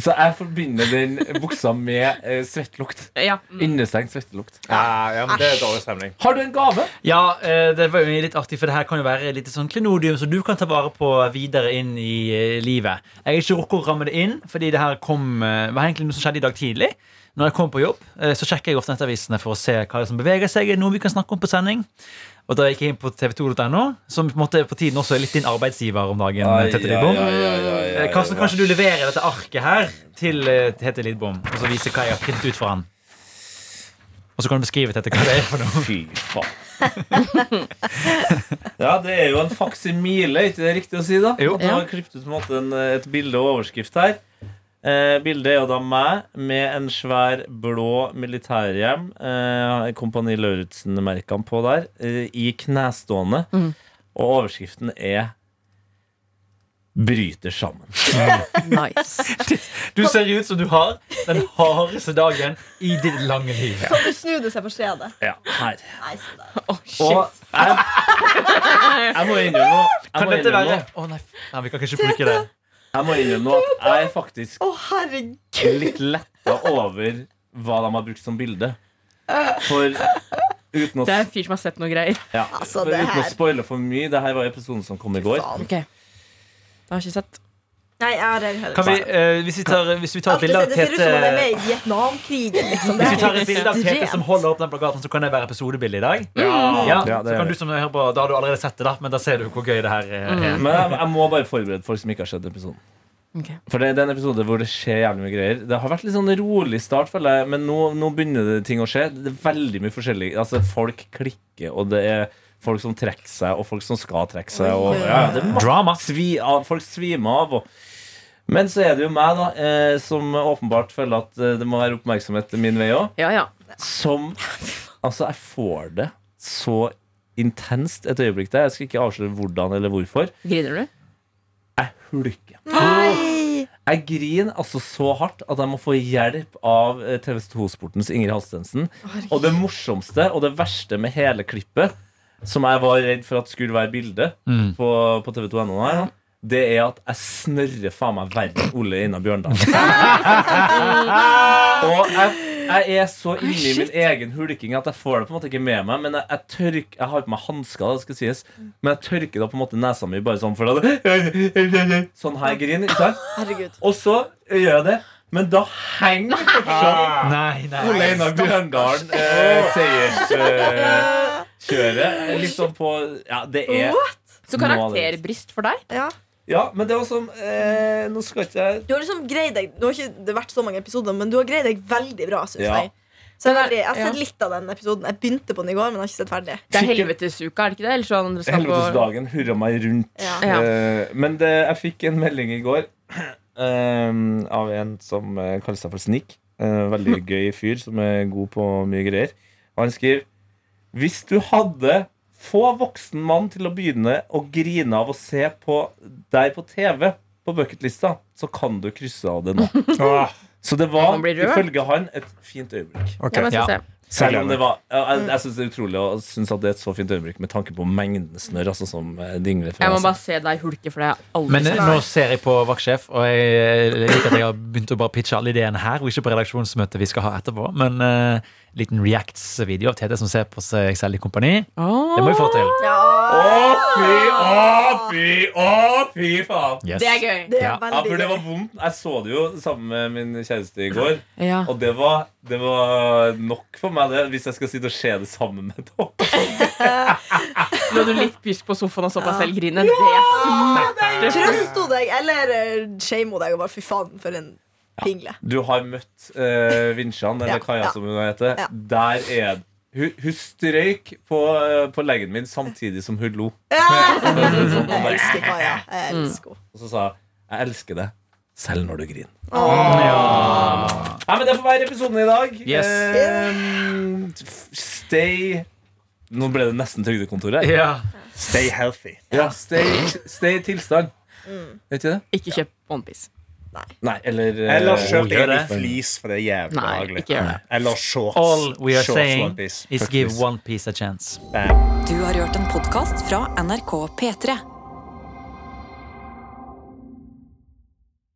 Speaker 2: Så jeg forbinder den buksa med eh, svettlukt.
Speaker 3: Ja. mm.
Speaker 2: Innestengt svettlukt.
Speaker 6: Ja, ja, men det er dårlig stemning.
Speaker 2: Har du en gave?
Speaker 4: Ja, eh, det var jo litt artig, for det her kan jo være litt sånn klenodium som du kan ta vare på videre inn i eh, livet. Jeg har ikke rukket å ramme det inn, fordi det her kom, eh, var egentlig noe som skjedde i dag tidlig. Når jeg kom på jobb, eh, så sjekker jeg ofte nettavisene for å se hva som beveger seg. Er det noe vi kan snakke om på sending? Og da gikk jeg inn på tv2.no, som på, en måte på tiden også er litt din arbeidsgiver om dagen. Tete Lidbom. Eh, Karsten, kanskje du leverer dette arket her til eh, Tete Lidbom, og så viser hva jeg har printet ut for han. Og så kan du beskrive Tete, hva det er for noe.
Speaker 2: Fy faen. ja, det er jo en faksimile, ikke det riktig å si, da?
Speaker 4: Jo.
Speaker 2: At man har klippet ut på en måte en, et bilde og overskrift her. Eh, bildet er jo da meg med en svær blå militærhjem, eh, Kompani Lauritzen-merkene på der, eh, i knestående.
Speaker 3: Mm.
Speaker 2: Og overskriften er 'Bryter sammen'.
Speaker 3: Nice.
Speaker 4: Du ser ut som du har den hardeste dagen i ditt lange liv.
Speaker 7: Kan du snu det seg på skjedet?
Speaker 2: Ja, her.
Speaker 7: Nei, se der.
Speaker 3: Å, shit.
Speaker 2: Og jeg, jeg må innrømme noe. Jeg
Speaker 4: Kan
Speaker 2: må
Speaker 4: dette
Speaker 2: innrømme
Speaker 4: være
Speaker 2: noe.
Speaker 4: Å nei, nei, vi kan ikke bruke det.
Speaker 2: Jeg må innrømme noe at jeg er faktisk
Speaker 7: Å, herregud.
Speaker 2: litt letta over hva de har brukt som bilde. For uten å,
Speaker 3: Det er en fyr som har sett noe greier.
Speaker 2: ja,
Speaker 7: Altså,
Speaker 2: for
Speaker 7: det
Speaker 2: uten å
Speaker 7: her-
Speaker 2: spoile for mye Det her var episoden som kom i går.
Speaker 7: Faen.
Speaker 3: Ok Da har jeg ikke sett.
Speaker 7: Nei, jeg har heller
Speaker 4: Kan vi,
Speaker 7: ikke.
Speaker 4: eh, hvis, vi tar, hvis vi tar et
Speaker 7: Alt det,
Speaker 4: bilde av
Speaker 7: ser- det ser ut som om det er
Speaker 4: Tete
Speaker 7: med i Vietnamkrigen. Liksom. Det
Speaker 4: hvis vi tar
Speaker 7: er
Speaker 4: et bilde av Tete
Speaker 7: ekstremt.
Speaker 4: som holder opp den plakaten, så kan det være episodebilde i dag. Ja,
Speaker 2: Ja,
Speaker 4: så
Speaker 2: det er
Speaker 4: kan du
Speaker 2: det.
Speaker 4: som hører på, Da har du allerede sett det, da men da ser du hvor gøy det her eh,
Speaker 7: Mm.
Speaker 4: er.
Speaker 2: Men jeg, jeg må bare forberede folk som ikke har sett episoden.
Speaker 3: Ok.
Speaker 2: For det, det er en episode hvor det skjer jævlig mye greier. Det har vært litt sånn rolig start, føler jeg, men nå, nå begynner det ting å skje. Det er veldig mye forskjellig. Altså, folk klikker, og det er folk som trekker seg, og folk som skal trekke seg. Og, ja, det er
Speaker 4: Drama.
Speaker 2: svi av, folk svimer av. Og. Men så er det jo meg, da, eh, som åpenbart føler at eh, det må være oppmerksomhet min vei òg.
Speaker 3: Ja, ja.
Speaker 2: Som Altså, jeg får det så intenst et øyeblikk der. Jeg skal ikke avsløre hvordan eller hvorfor.
Speaker 3: Griner du?
Speaker 2: Jeg hulker. Jeg griner altså så hardt at jeg må få hjelp av eh, TV 2-sportens Ingrid Halstensen. Og det morsomste og det verste med hele klippet, som jeg var redd for at skulle være bildet
Speaker 4: Mm.
Speaker 2: på, på TV 2.no, her, da, det er at jeg snørrer faen meg verre enn Ole Einar Bjørndal. og jeg, jeg er så inne i min egen hulking at jeg får det på en måte ikke med meg. Men jeg, jeg, tørk, jeg har på meg hansker, det skal sies, men jeg tørker da på en måte nesa mi bare sånn for det. Sånn her grin. Ikke sant?
Speaker 7: Herregud.
Speaker 2: Og så gjør jeg det, men da henger fortsatt
Speaker 4: Nei,
Speaker 2: Ole
Speaker 4: nei.
Speaker 2: Einar Bjørndalen eh, seierskjøret. litt sånn på Ja, det er
Speaker 3: Så
Speaker 2: Nå er det-
Speaker 3: karakterbrist for deg?
Speaker 7: Ja.
Speaker 2: Ja, men det var sånn eh, Nå skal ikke jeg
Speaker 7: Du har liksom greid deg Nå har ikke det vært så mange episoder, men du har greid deg veldig bra, syns
Speaker 2: Ja.
Speaker 7: jeg. Så jeg, er
Speaker 3: Men
Speaker 7: veldig,
Speaker 3: det er-
Speaker 7: jeg har sett
Speaker 3: ja.
Speaker 7: litt av den episoden. Jeg begynte på den i går, men har ikke sett ferdig.
Speaker 3: Det er
Speaker 2: Fikk-
Speaker 3: helvetesuka, er det ikke det? Eller så andre skal på
Speaker 2: Helvetesdagen hurra meg rundt.
Speaker 7: Ja.
Speaker 3: Ja.
Speaker 2: Eh, men det, jeg fikk en melding i går eh, av en som eh, kaller seg for Snik. Eh, veldig gøy fyr som er god på mye greier. Og han skriver Hvis du hadde få voksen mann til å begynne å grine av å se på deg på TV på bucketlista, så kan du krysse av det nå. Så det var
Speaker 3: Man blir rørt.
Speaker 2: ifølge han et fint øyeblikk.
Speaker 6: Ok.
Speaker 3: Ja, men
Speaker 4: Ja.
Speaker 3: skal vi se.
Speaker 2: Selv om det var Jeg, jeg, jeg syns det er utrolig og jeg synes at det er et så fint øyeblikk med tanke på mengden snørr. Altså, som eh, dingler fra
Speaker 3: Jeg må
Speaker 2: seg.
Speaker 3: bare se deg hulke, for det har jeg aldri sånn.
Speaker 4: Men eh,
Speaker 3: sett.
Speaker 4: nå ser jeg på vaktsjef, og jeg liker at jeg har begynt å bare pitche alle ideene her. Og ikke på redaksjonsmøtet vi skal ha etterpå. Men eh, liten reacts-video av Tete som ser på seg selv i kompani.
Speaker 3: Åh.
Speaker 4: Det må vi få til.
Speaker 7: Ja,
Speaker 2: Å, fy, å, fy, å, fy faen!
Speaker 4: Yes.
Speaker 3: Det er gøy.
Speaker 7: det er
Speaker 4: Ja.
Speaker 2: Ja,
Speaker 7: veldig
Speaker 2: for det
Speaker 7: gøy.
Speaker 2: var vondt. Jeg så det jo sammen med min kjæreste i går.
Speaker 3: Ja.
Speaker 2: Og det var, det var nok for meg, det, hvis jeg skal sitte og se det sammen med dere.
Speaker 3: Lå du litt pysk på sofaen og så på deg selv grine? Det er smerte.
Speaker 7: Trøst henne deg, eller eh, shame henne deg og bare fy faen, for en pingle.
Speaker 2: Du har møtt eh, Vinsjan, eller
Speaker 7: Ja,
Speaker 2: Kaja,
Speaker 7: ja.
Speaker 2: som hun heter.
Speaker 7: Ja.
Speaker 2: Der er det. Hun, hun strøyk på, eh, på leggen min samtidig som hun lo.
Speaker 7: Ja.
Speaker 2: Sånn,
Speaker 7: Jeg
Speaker 2: og
Speaker 7: elsker Kaja. Jeg
Speaker 3: Mm.
Speaker 7: elsker henne.
Speaker 2: så sa hun jeg elsker deg, selv når du griner. Nei, men Det får være episoden i dag.
Speaker 4: Yes.
Speaker 2: Eh, f- stay Nå ble det nesten Trygdekontoret. her.
Speaker 4: Ja.
Speaker 6: Stay healthy.
Speaker 2: Ja, stay, stay i tilstand. Vet ikke det?
Speaker 3: Ikke kjøp OnePiece.
Speaker 2: Nei, eller eh,
Speaker 6: Eller kjøp
Speaker 4: gjør
Speaker 6: er deg en
Speaker 4: det.
Speaker 6: flis, for det er jævlig
Speaker 3: Nei,
Speaker 6: behagelig.
Speaker 3: ikke gjør det.
Speaker 6: Eller shorts.
Speaker 4: All we are
Speaker 6: shorts
Speaker 4: saying
Speaker 6: One Piece.
Speaker 4: is give one piece a chance.
Speaker 6: Bam.
Speaker 1: Du har hørt en podkast fra NRK P3.